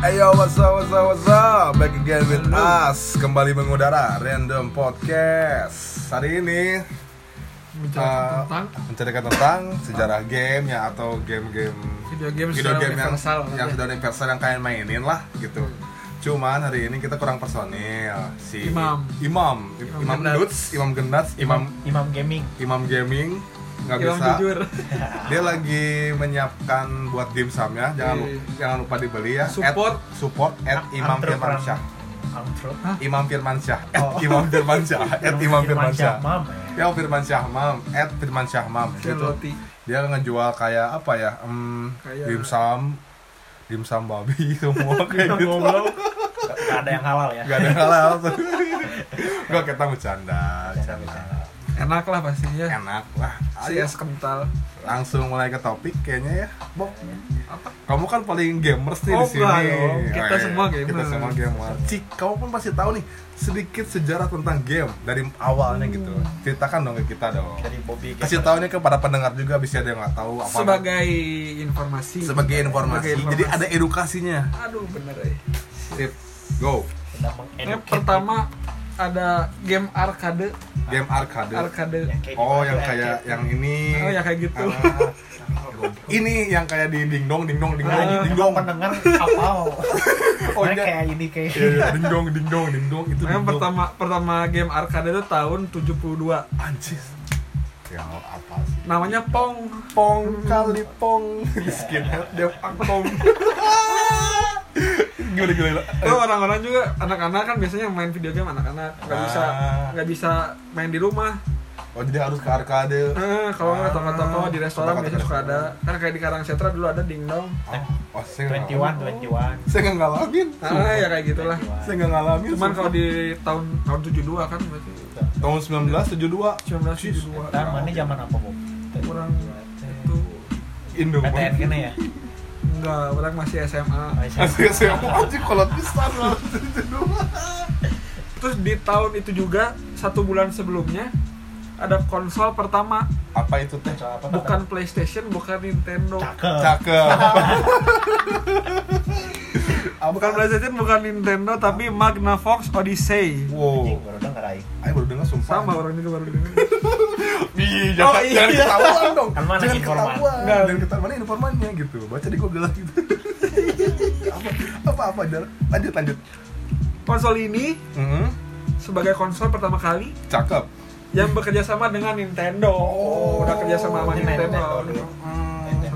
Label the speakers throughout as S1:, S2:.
S1: Ayo, what's up, what's up, what's up? Back again with us Kembali mengudara, Random Podcast Hari ini eh,
S2: Bicara tentang
S1: menceritakan tentang sejarah game ya Atau game-game
S2: video game
S1: video
S2: secara
S1: game yang,
S2: universal Hmm.
S1: yang sudah universal yang kalian mainin lah gitu Cuman hari ini kita kurang personil si
S2: Imam.
S1: Imam Imam,
S2: Imam Gendats.
S1: Lutz, Imam Gendats, Imam
S3: Imam Gaming
S1: Imam Gaming nggak
S2: Imam
S1: bisa Gitu.
S2: jujur
S1: dia lagi menyiapkan buat dimsumnya jangan lu-
S2: Iya.
S1: jangan lupa dibeli ya
S2: Support.
S1: at, support at
S3: Am-
S1: Imam
S3: Amtrepreneur.
S1: Firmansyah
S3: Amtrop
S1: Imam Firmansyah at
S3: Oh.
S1: Imam Firmansyah at Eh, Imam Firmansyah
S3: Mam
S1: ya Firmansyah mam at Firmansyah mam gitu
S2: Celotti
S1: dia ngejual kayak apa ya em,
S2: Kayak-
S1: dimsum dimsum babi semua
S3: ya
S1: kayak gitu
S3: Goblok Gak ada yang halal ya
S1: gak ada halal gue kita bercanda bercanda
S2: enak lah pastinya
S1: enak lah
S2: si
S1: Ayo.
S2: es kental
S1: langsung mulai ke topik kayaknya ya Bok kamu kan paling gamers nih di
S2: Oh,
S1: sini
S2: enggak dong. Kita
S1: Eh,
S2: semua
S1: kita
S2: gamers.
S1: semua gamer Cik kamu pun pasti tahu nih sedikit sejarah tentang game dari awalnya
S2: Hmm.
S1: gitu ceritakan dong ke kita dong
S3: Dari Bobby
S1: kasih tahu nih ke para pendengar juga bisa ada yang nggak tahu apa
S2: sebagai informasi
S1: sebagai informasi.
S2: Sebagai informasi.
S1: jadi ada edukasinya
S2: aduh bener eh.
S1: sip go
S3: Sedang
S2: yang
S3: mengedukasi
S2: pertama ada game arcade
S1: game arcade
S2: arcade
S3: kayak
S1: oh
S3: di-
S1: yang kayak yang ini
S2: Oh, yang kayak gitu.
S1: Ah, ini yang kayak di dingdong dingdong dingdong
S2: Ah.
S3: Nah,
S1: dingdong
S3: Emang pendengar apa
S1: Oh,
S3: Oh
S1: iya.
S3: kayak ini kayak
S1: Iya, iya, dingdong dingdong dingdong itu
S2: Nah, yang
S1: dingdong.
S2: pertama pertama game arcade itu tahun 72
S1: Anjir. Ya apa sih?
S2: namanya Pong
S1: Pong kali pong di skinhead dia pangpong. gimana gimana? gimana?
S2: itu orang-orang juga anak-anak kan biasanya main video game anak-anak nggak bisa
S1: Ah.
S2: nggak bisa main di rumah
S1: Oh jadi harus ke arcade.
S2: Eh, kalau nggak toko-toko di
S1: Ah,
S2: restoran
S1: Toko-toko
S2: biasanya suka ada
S1: restoran.
S2: kan kayak di Karang Setra dulu ada dingdong
S1: Oh, oh, saya nggak-
S3: 21, 21
S1: Saya nggak ngalamin.
S2: ah ya kayak gitulah
S1: Saya nggak ngalamin.
S2: cuman
S1: sumpah.
S2: kalau di tahun tahun 72 kan berarti
S1: tahun 1972
S2: 1972
S3: Ntar mana zaman apa Bob?
S2: Kurang. itu
S3: Itu
S1: Indo.
S3: PTN kena ya?
S2: enggak orang masih SMA
S1: Asli saya mau aja kalau pisan lah.
S2: terus di tahun itu juga satu bulan sebelumnya ada konsol pertama
S1: Apa itu teh?
S2: bukan PlayStation bukan Nintendo
S3: Cakep
S1: Cakep.
S2: bukan PlayStation bukan Nintendo tapi Magnavox Odyssey
S3: Anjing,
S1: Wow.
S3: baru denger aing
S1: Ayo baru dengar sumpah.
S2: sama orang juga baru dengar
S1: Ih, jangan,
S2: Oh, iya.
S1: jangan ketahuan dong.
S3: Kan mana
S1: jangan
S3: informan.
S1: ketahuan.
S2: Enggak.
S1: Jangan ketahuan mana informannya gitu. Baca di Google lah gitu. apa apa apa Jar? lanjut lanjut.
S2: konsol ini
S1: Hmm,
S2: sebagai konsol pertama kali
S1: cakep.
S2: yang bekerja sama dengan Nintendo. Oh, udah kerja sama sama
S3: Nintendo
S2: Nintendo.
S3: dulu.
S1: Hmm.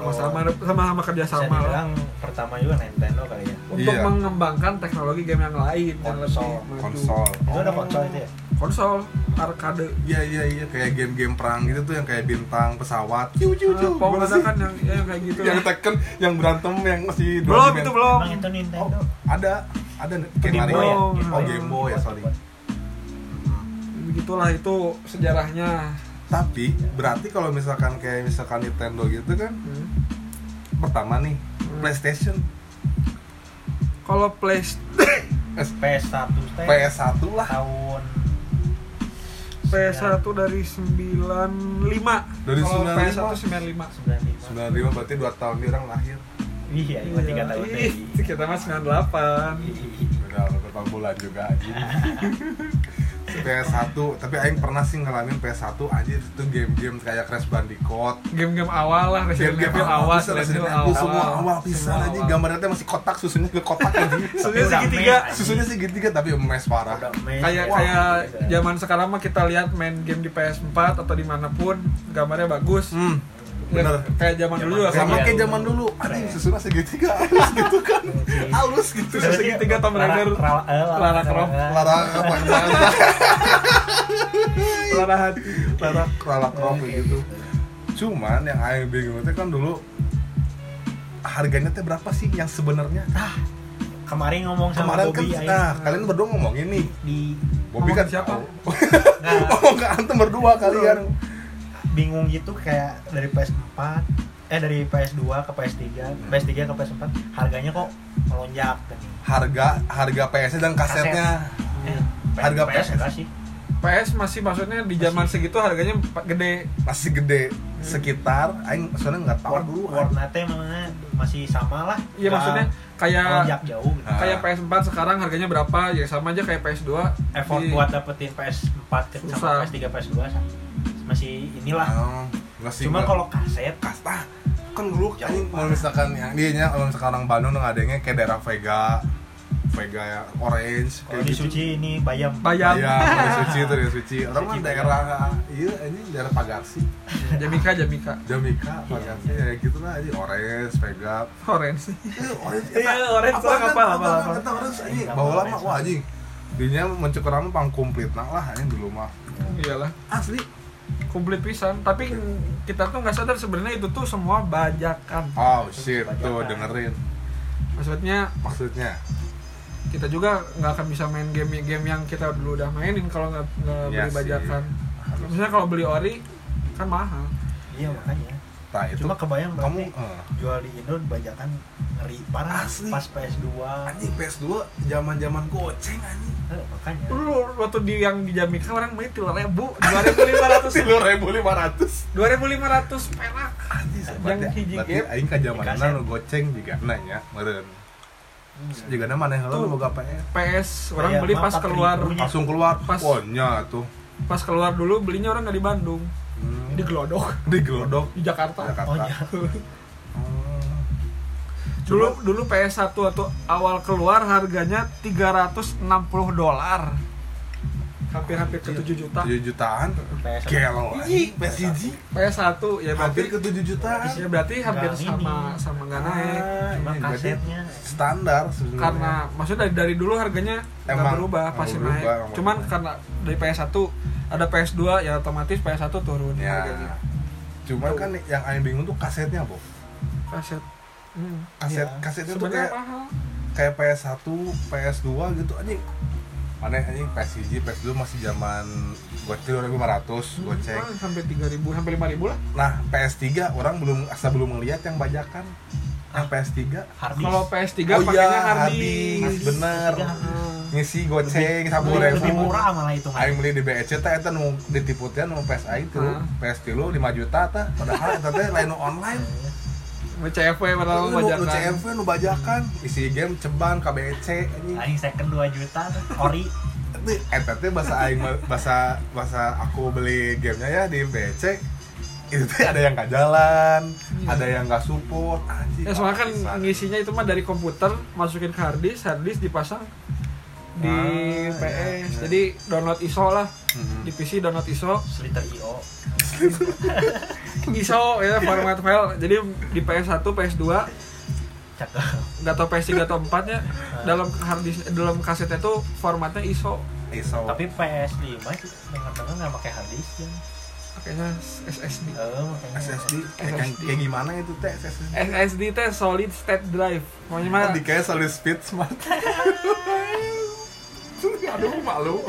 S2: Sama-sama sama-sama kerja
S3: Bisa
S2: sama lah.
S3: dibilang pertama juga Nintendo kali ya
S2: Untuk
S1: Iya.
S2: mengembangkan teknologi game yang lain dan
S3: Konsol.
S2: lebih maju.
S1: Konsol. Oh.
S3: Itu ada konsol itu ya?
S2: Konsol, arcade.
S1: Iya iya iya kayak game-game perang gitu tuh yang kayak bintang pesawat. Ciu ciu
S2: Nah,
S1: ciu.
S2: Pong
S1: Gimana
S2: ada
S1: sih?
S2: kan yang ya, yang kayak gitu.
S1: Ah, yang Tekken yang berantem yang masih dua
S2: belum
S1: dimen-
S2: itu belum.
S3: Emang itu
S1: Oh,
S3: Nintendo
S1: ada ada game
S3: Game
S1: Mario.
S3: Boy ya?
S1: Oh,
S2: Game Boy.
S1: Game Boy ya, sorry.
S2: Begitulah itu sejarahnya.
S1: Tapi berarti kalau misalkan kayak misalkan Nintendo gitu kan
S2: Hmm.
S1: pertama nih PlayStation
S2: Kalau Play
S3: PS1 teh
S1: PS1 lah
S3: tahun
S2: PS1 dari 95.
S1: Dari
S2: Kalau
S1: 95.
S2: PS1 95.
S3: 95
S1: 95 berarti 2 tahun dia orang lahir
S3: iya gua tiga tahun
S2: Ih,
S3: deh
S2: Kita mah 98.
S1: udah berapa bulan juga anjing PS1 tapi Aing pernah sih ngalamin PS1 anjir itu game-game kayak Crash Bandicoot
S2: game-game awal lah Resident Evil awal
S1: pisan, Resident Evil semua awal pisan anjing gambarnya teh masih kotak susunya ke kotak anjing
S2: Susunya
S3: Tapi udah
S2: segitiga.
S3: main, anjing.
S1: susunya segitiga tapi emes
S3: Udah
S1: parah
S3: main.
S2: kayak
S3: Wah,
S2: kayak
S3: gitu.
S2: zaman sekarang mah kita lihat main game di PS4 atau dimanapun gambarnya bagus
S1: hmm
S2: Ya,
S1: bener.
S2: kayak zaman dulu
S3: Zaman
S2: juga sama
S1: sama
S3: Iya,
S1: kayak
S3: dulu.
S1: zaman dulu anjing susunya segitiga halus gitu kan halus gitu
S2: Terus segitiga Tomb
S3: Lara-
S2: Raider,
S3: Ra- eh,
S2: Lara Croft.
S1: larang apa larang
S2: lara hati
S1: Lara Lara Croft kayak gitu cuman yang aing bingung teh kan dulu harganya teh berapa sih yang sebenarnya ah,
S3: kemarin ngomong sama
S1: kemarin kan
S3: Bobby
S1: kita
S3: aing
S1: kalian berdua ngomong ini
S3: di
S1: Bobby
S2: Ngomongin
S1: kan
S2: siapa?
S3: Nah. nggak,
S1: ngomong ke antem berdua kalian
S3: bingung gitu kayak dari PS4 eh dari PS2 ke PS3 PS3 ke PS4 harganya kok melonjak kan
S1: harga harga PS dan kasetnya
S3: Eh,
S1: Harga PS.
S3: PS enggak sih
S2: PS masih maksudnya di zaman segitu harganya pa- gede
S1: masih gede
S3: Hmm.
S1: sekitar aing soalnya nggak tahu dulu
S3: kan. warna teh mana masih sama lah
S2: Iya,
S3: Nggak-
S2: maksudnya kayak
S1: Ya.
S3: melonjak jauh gitu.
S1: Nah.
S2: kayak PS4 sekarang harganya berapa ya sama aja kayak PS2
S3: effort
S2: Di-
S3: buat dapetin PS4 ke
S2: Susah.
S3: sama PS3 PS2 sama- masih inilah
S1: Oh, nggak sih, nggak.
S3: cuma kalau kaset
S1: kasta kan dulu
S3: Jauh
S1: anjing, kalau
S3: banget.
S1: misalkan yang dia nya kalau misalkan orang Bandung tuh adanya kayak daerah Vega Vega ya Orange gitu.
S3: kalau di Suci ini bayam
S2: bayam
S1: Iya, dari suci itu dari suci. Orang mah
S3: Suci
S1: daerah iya ini daerah Pagarsi,
S2: Jamika Jamika
S1: Jamika, Pagarsi ya gitu lah aja Orange, Vega.
S2: Orange
S1: Eh, Orange.
S2: Iya, Orange, orang apa, apa, apa.
S1: Kata Orange anjing, bawa lama wah anjing. Dinya mencukur lama pang komplit nah lah anjing dulu mah.
S2: iyalah
S1: Asli.
S2: komplit pisan tapi kita tuh nggak sadar sebenarnya itu tuh semua bajakan
S1: Oh shit, tuh dengerin
S2: maksudnya
S1: maksudnya.
S2: kita juga nggak akan bisa main game-game yang kita dulu udah mainin kalau nggak nggak
S1: Iya
S2: beli
S1: sih.
S2: bajakan misalnya kalau beli ori kan mahal
S3: iya makanya
S1: Nah, itu
S3: cuma kebayang
S1: kamu
S3: berarti
S1: eh,
S3: jual di Indo bajakan ngeri parah
S1: Asli.
S3: pas PS2
S1: anjing PS2 zaman-zaman goceng anjing.
S3: Eh, makanya
S2: dulu waktu di yang di Jamika orang main tiga ribu dua ribu lima ratus
S1: Silur 1500.
S2: dua ribu lima ratus perak
S1: Anjing
S2: Yang
S1: sebenarnya.
S2: hiji
S1: Berarti
S2: gap.
S1: aing ka zamanana
S3: Dikaset.
S1: nu goceng juga nanya, meureun.
S3: Hmm.
S1: Juga mana yang
S2: Tuh.
S1: lu boga PS.
S2: PS
S1: Oh
S2: orang
S1: iya,
S3: Kayak
S2: beli
S3: mah
S2: pas
S3: 4.000
S2: keluar
S3: nya.
S1: langsung keluar
S2: Pas.
S1: pohonnya tuh
S2: pas keluar dulu belinya orang nggak di Bandung
S1: hmm.
S2: di Glodok
S1: digelodok
S2: di Jakarta
S1: Jakarta
S3: Oh, iya.
S1: Hmm.
S2: dulu dulu PS1 waktu awal keluar harganya 360 dolar hampir-hampir
S1: Iya,
S2: ke 7 juta
S1: 7 jutaan
S3: PS
S1: gelo
S2: Ih,
S1: PSG
S2: PS1 ya
S1: hampir
S2: berarti
S1: ke 7 jutaan
S2: ya berarti hampir
S3: Nggak
S2: sama
S3: ini.
S2: sama nggak naik
S1: Ah,
S3: cuma
S1: ini berarti
S3: kasetnya
S1: standar sebenarnya
S2: eh. karena maksudnya dari, dari dulu harganya nggak
S1: Emang,
S2: berubah
S1: nggak
S2: pasti
S1: berubah,
S2: naik
S1: nggak
S2: cuman
S1: berubah.
S2: karena dari PS1 ada PS2 ya otomatis PS1 turun
S1: ya
S2: harganya
S1: cuman
S2: Tuh.
S1: kan yang aing bingung tuh kasetnya bu
S2: kaset hmm.
S1: kaset
S3: Iya.
S1: kasetnya tuh kayak
S2: sebenarnya mahal
S1: kayak PS1 PS2 gitu anjing aneh anjing PSG PS2 masih zaman goceng 2500 goceng
S2: Hmm, sampai 3000 sampai 5000 lah
S1: Nah, PS3 orang belum asa belum ngelihat yang bajakan. Nah, Yang PS3.
S3: harddisk
S2: kalau PS3
S1: Oh
S2: pakainya
S1: iya,
S2: harddisk.
S1: harddisk, bener.
S2: Hmm.
S1: Ngisi goceng sabu
S2: lebih-
S1: rebu.
S3: lebih murah malah itu mah
S1: Aing beli di BEC teh eta nu ditiputnya nu PS aing tuh,
S2: Hah?
S1: PS 3 5 juta tah. Padahal eta teh lain nu online.
S2: CFW pertama
S1: Lu nu
S2: bajakan
S1: CMV nu bajakan, isi game ceban ka BEC E anjing.
S3: Eh, Aing second 2 juta tuh, ori
S1: Itu- Eta teh bahasa aing mah- bahasa bahasa aku beli gamenya ya di BEC itu teh ada yang gak jalan,
S2: Iya.
S1: ada yang gak support, anjing.
S2: ya soalnya kan
S1: Pisan.
S2: ngisinya itu mah dari komputer masukin ke harddisk harddisk dipasang di
S1: Ah,
S2: PS
S1: iya, iya.
S2: jadi download ISO lah
S1: Mhm.
S2: di PC download ISO
S3: Sliter IO
S2: ISO ya format file jadi di PS1 PS2
S3: cakep
S2: nggak tau PS3 atau 4 nya dalam harddisk dalam kasetnya tuh formatnya ISO
S1: ISO.
S3: tapi PS5 sih dengar-dengar nggak pakai harddisk kan
S2: pakainya SSD
S3: eh makanya
S1: SSD
S2: SSD.
S1: Eh, kayak, kayak gimana itu teh SSD
S2: SSD teh solid state drive pokoknya mah
S1: oh, di kayak solid speed smart
S2: aduh malu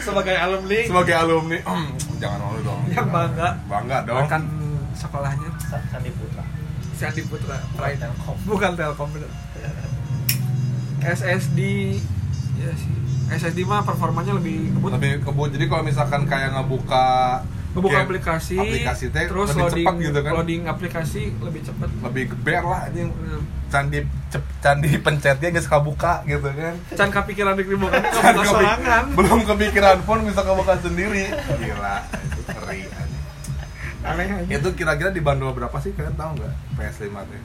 S2: sebagai alumni
S1: sebagai alumni hmm, jangan malu dong
S2: Ya, bangga.
S1: bangga dong
S2: akan sekolahnya
S3: Sa- Sandi Putra
S2: Sandi Putra Pride
S3: Pride Telkom
S2: bukan Telkom bener. SSD ya sih SSD mah performanya lebih ngebut
S1: tapi kebut jadi kalau misalkan kayak ngebuka
S2: ngebuka
S1: game,
S2: aplikasi,
S1: iya. aplikasi teh
S2: terus
S1: lebih
S2: loading
S1: cepat gitu kan
S2: loading aplikasi lebih cepet
S1: lebih geber lah ini candi cep- candi pencetnya nggak suka buka gitu kan
S2: can kepikiran di kribo kan
S1: Kan kepik-
S2: nggak sorangan
S1: belum kepikiran pun bisa kebuka sendiri gila itu ngeri anjing.
S2: aneh aja
S1: itu kira-kira dibanderol berapa sih kalian tahu nggak PS5 teh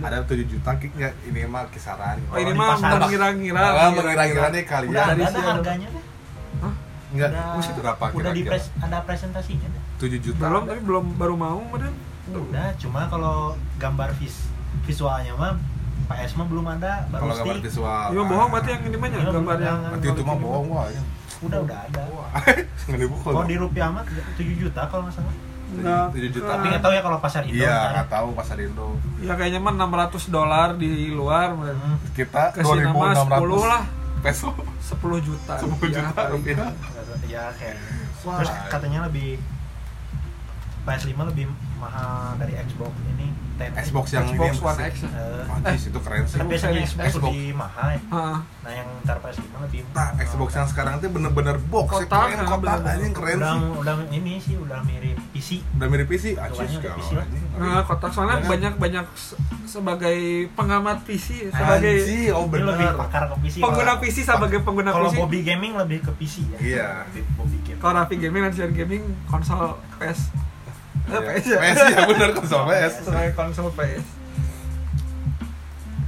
S1: ada 7 juta kick nggak ini mah kisaran
S2: oh ini
S3: di
S2: mah
S3: pasar.
S2: mengira-ngira
S1: Ah, mengira-ngira nih
S3: udah
S1: kalian
S2: dari
S3: ada ada
S2: siang.
S3: harganya tuh
S2: Hah?
S1: enggak
S3: Udah-
S1: mesti berapa
S3: udah di
S1: kira-kira?
S3: pres ada presentasinya dah.
S1: 7 juta.
S2: belum
S1: ada.
S2: tapi belum baru mau meren
S3: udah cuma kalau gambar vis visualnya mah PS mah belum ada baru
S1: Kalau gambar
S3: stick
S1: visual.
S2: Ini mah bohong berarti yang ini mah ya
S3: Iya,
S2: gambarnya
S3: bener.
S1: Berarti itu mah bohong wah. ya.
S3: udah udah ada
S1: Wah. Enggak dibukul.
S2: Oh,
S3: kalau di rupiah mah 7 juta kalau nggak salah
S2: Nggak.
S1: 7 juta.
S3: tapi nggak tahu ya kalau pasar Indo
S1: Iya,
S3: ntar.
S1: enggak tahu pasar Indo.
S2: Ah, ya kayaknya mah 600 dolar di luar meren.
S3: Hmm,
S1: Kita
S2: kasih nama 10 lah
S1: 2600
S2: Iya,
S1: peso.
S2: 10 juta
S1: 10 juta
S2: rupiah.
S1: rupiah.
S3: Iya, nggak tahu. ya kayak
S1: Wah.
S3: terus katanya lebih PS5 lebih mahal dari Xbox ini. Ten.
S1: Xbox yang
S2: Xbox
S1: ini
S2: One X.
S3: Eh,
S1: Anjis itu keren sih.
S3: kan
S2: Xbox
S3: biasanya
S2: Series
S3: Xbox
S1: Xbox.
S3: lebih mahal ya.
S2: Heeh.
S3: Nah yang ntar PS5 lebih
S1: Nah, Xbox yang sekarang tuh bener-bener box,
S2: Kotak,
S1: keren
S2: nah,
S1: kotak
S2: bener-bener.
S1: anjing keren
S3: udah,
S1: sih.
S3: udah ini sih udah mirip PC.
S1: Udah mirip PC, anjir
S3: Tuannya udah
S1: kalau
S3: PC lah.
S1: anjing.
S2: Nah, kotak soalnya
S1: Iya kan?
S2: banyak banyak se- sebagai pengamat PC sebagai
S1: Anjir, oh
S3: Ini
S1: bener.
S3: lebih pakar ke PC.
S2: pengguna
S3: Kalau-
S2: PC sebagai pengguna
S3: Kalau
S2: PC.
S3: Bobby Gaming lebih ke PC ya.
S1: Iya.
S3: Lebih Bobby Gaming.
S2: Kalau Raffi Gaming dan Sian Gaming konsol PS. Eh,
S1: Iya.
S2: PS ya.
S1: PS ya bener konsol PS.
S2: Sebagai konsol PS.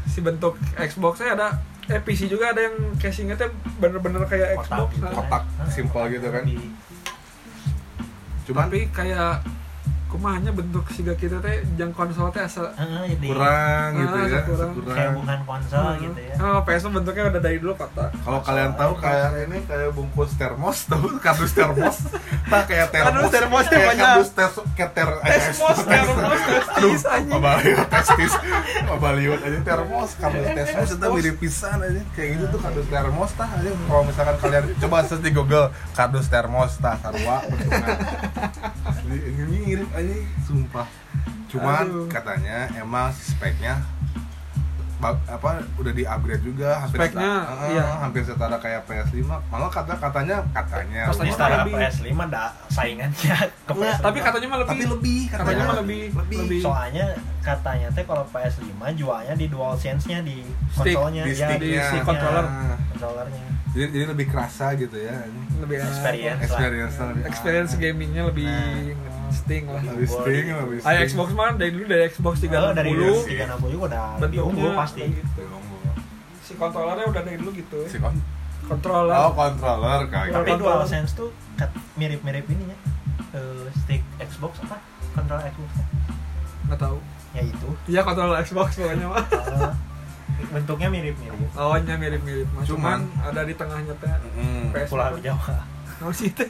S2: Si bentuk Xbox-nya ada eh PC juga ada yang casingnya tuh bener-bener kayak Xbox.
S3: gitu.
S2: nah.
S1: Kotak,
S3: Hah?
S1: simple gitu kan.
S3: Lebih-
S1: Cuman
S2: Tapi kayak kumahnya bentuk siga kita teh jang konsol teh asa
S3: Heeh, jadi
S1: kurang gitu ya,
S2: Ah, kurang.
S3: kayak
S1: kurang. Hmm.
S3: bukan eh, konsol gitu ya.
S2: Kalau PS mah bentuknya udah dari dulu kotak.
S1: Kalau kalian tahu kayak ini kayak bungkus termos, tahu kardus termos. Tak Nah, kayak termos.
S2: Kardus termos
S1: kayak
S2: banyak.
S1: Kardus tes kayak ter eh,
S2: Termos, termos,
S1: Aduh,
S2: termos, anjing.
S1: pabaliot, testis, pabaliot aja termos, kardus termos itu mirip pisan aja. Kayak gitu tuh kardus termos tah aja. Kalau misalkan kalian coba search di Google kardus termos tah sarua perhitungan. Ini ini mirip aja, sumpah. Cuman
S2: Aduh.
S1: katanya emang speknya ba- apa udah di upgrade juga hampir
S2: Speknya,
S1: setara,
S2: iya.
S1: ah, hampir setara kayak PS5 malah kata katanya katanya
S2: Pas
S3: Ini
S2: Kosnya
S3: setara
S2: lebih.
S3: PS5 dah saingannya ke
S1: Nggak,
S3: PS5.
S2: Tapi katanya mah lebih.
S1: tapi lebih
S2: katanya mah lebih
S1: lebih.
S2: lebih.
S3: soalnya katanya teh kalau PS5 jualnya di DualSense-nya di
S2: Stick,
S3: konsolnya
S1: di
S3: ya,
S1: sticknya.
S2: di si controller.
S1: Ah,
S3: controllernya.
S1: jadi, jadi lebih kerasa gitu ya ini.
S2: lebih enak.
S3: Experience.
S1: experience lebih
S2: experience
S1: ah.
S2: gamingnya lebih
S3: Nah.
S2: sting lah.
S1: lebih sting lebih
S2: Ayo Xbox mah dari dulu dari Xbox 360
S3: Kalau Oh, dari
S1: dulu.
S3: 360 juga udah lebih
S2: bentuknya
S3: unggul pasti.
S2: gitu. Si kontrolernya udah dari dulu gitu.
S1: si kon
S2: Controller.
S1: oh controller kayak
S3: Tapi
S2: Controller.
S3: DualSense tuh kat- mirip-mirip ininya. Eh, stick Xbox apa? Kontrol Xbox.
S2: Nggak tahu.
S3: Ya itu.
S2: Iya controller Xbox pokoknya mah.
S3: Eh, bentuknya mirip-mirip.
S2: Lawannya mirip-mirip mah. Cuman,
S1: Cuman-
S2: ada di tengahnya teh.
S1: Mm.
S2: PS.
S3: Pulau Jawa.
S2: Nggak sih teh.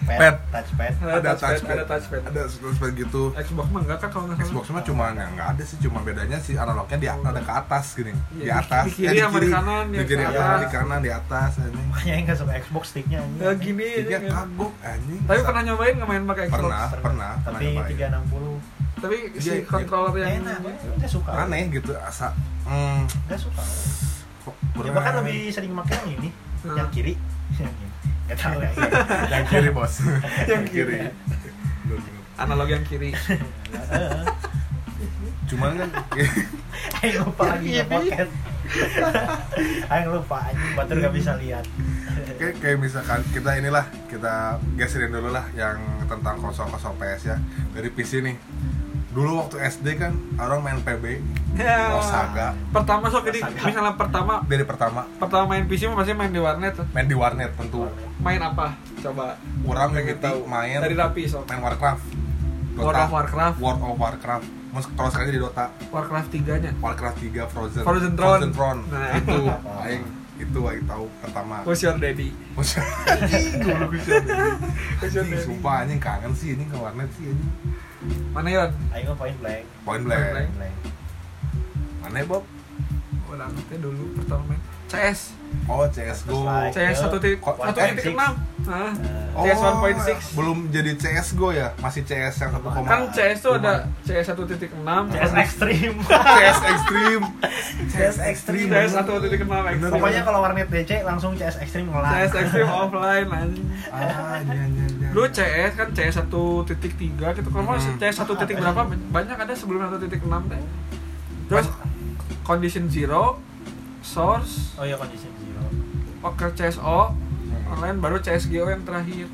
S1: Pad.
S3: touchpad.
S1: ada touchpad
S2: Ada touchpad.
S1: ada touchpad gitu
S2: Xbox mah enggak kan kalau nggak salah.
S1: Xbox mah cuma yang nggak ada sih cuma bedanya si analognya di ada ke atas gini di
S2: Iya, di-
S1: atas
S2: di kiri sama di kanan,
S1: di
S2: yang Iya,
S1: kiri
S3: ke
S1: sama
S3: atas.
S1: di kanan di atas ini
S3: Makanya yang gak suka Xbox sticknya ini.
S1: Eh,
S2: Ya gini aja.
S1: dia
S2: kan.
S1: kagok anjing
S2: Tapi pernah nyobain nggak main pakai Xbox?
S1: pernah Ah, pernah
S3: Tapi
S1: pernah nyobain.
S3: 360
S2: Tapi si
S1: Iya, iya.
S2: controller yang
S3: enak, gue gak suka.
S1: aneh gitu asa hmm,
S3: Gak suka.
S1: kok
S3: Ya
S1: kurang. Ah.
S3: bahkan lebih sering pakai yang ini,
S2: Hmm.
S3: yang kiri. Yang ini. Gak tahu ya.
S1: yang kiri bos yang
S2: kiri. analog yang kiri.
S3: Heeh.
S1: cuman kan
S3: Aing lupa lagi
S2: Yang
S3: nge pocket. Aing lupa, anjing batur gak bisa lihat.
S1: kayak, kayak misalkan kita inilah kita geserin dulu lah yang tentang konsol konsol PS ya dari PC nih dulu waktu SD kan orang main PB
S2: Ya.
S1: Osaga
S2: Pertama sok ini
S3: Osaga.
S2: misalnya pertama
S1: dari pertama
S2: pertama main PC mah pasti main di warnet.
S1: main di warnet tentu
S2: Main apa? Coba.
S1: kurang
S2: Pengen
S1: mimiti main
S2: Dari rapi sok.
S1: main Warcraft Dota.
S2: World of Warcraft.
S1: World of Warcraft Mas terus aja di Dota
S2: Warcraft 3-nya.
S1: Warcraft 3 Frozen
S2: Frozen Throne.
S1: Throne.
S2: Nah.
S1: itu aing itu aing tahu pertama
S2: Who's your daddy?
S1: Wes, anjing, goblok bisa
S2: Who's your
S1: Anjing,
S2: daddy?
S1: sumpah anjing kangen sih ini ke warnet sih anjing
S2: Mana Yon?
S3: Aing mah point blank.
S1: point
S2: Point blank.
S1: blank
S3: Blank.
S1: mana ya, Bob
S2: Warnetnya Oh, dulu pertama main CS.
S1: oh CSGO
S3: Terus like.
S2: CS
S3: Yo.
S2: 1.1.6.
S1: Kok-
S2: Nah.
S1: oh,
S2: CS 1.6.
S1: belum jadi CSGO ya masih CS yang 1,
S2: Kan CS tuh ada CS 1.6,
S3: CS ekstrim.
S1: CS Extreme CS Extreme
S2: CS 1.6 Extreme.
S3: Pokoknya kalau warnet DC langsung CS ekstrim ngelang.
S2: CS Extreme oh. offline anjing.
S1: ah, iya, iya, iya.
S2: Dulu CS kan CS 1.3 gitu. Kalau mau
S1: Hmm.
S2: CS 1.0 berapa banyak ada sebelum 1.6 deh. Terus condition zero, source,
S3: Oh iya kondisi zero.
S2: poker
S1: Hmm.
S2: CSO, online baru CSGO yang terakhir.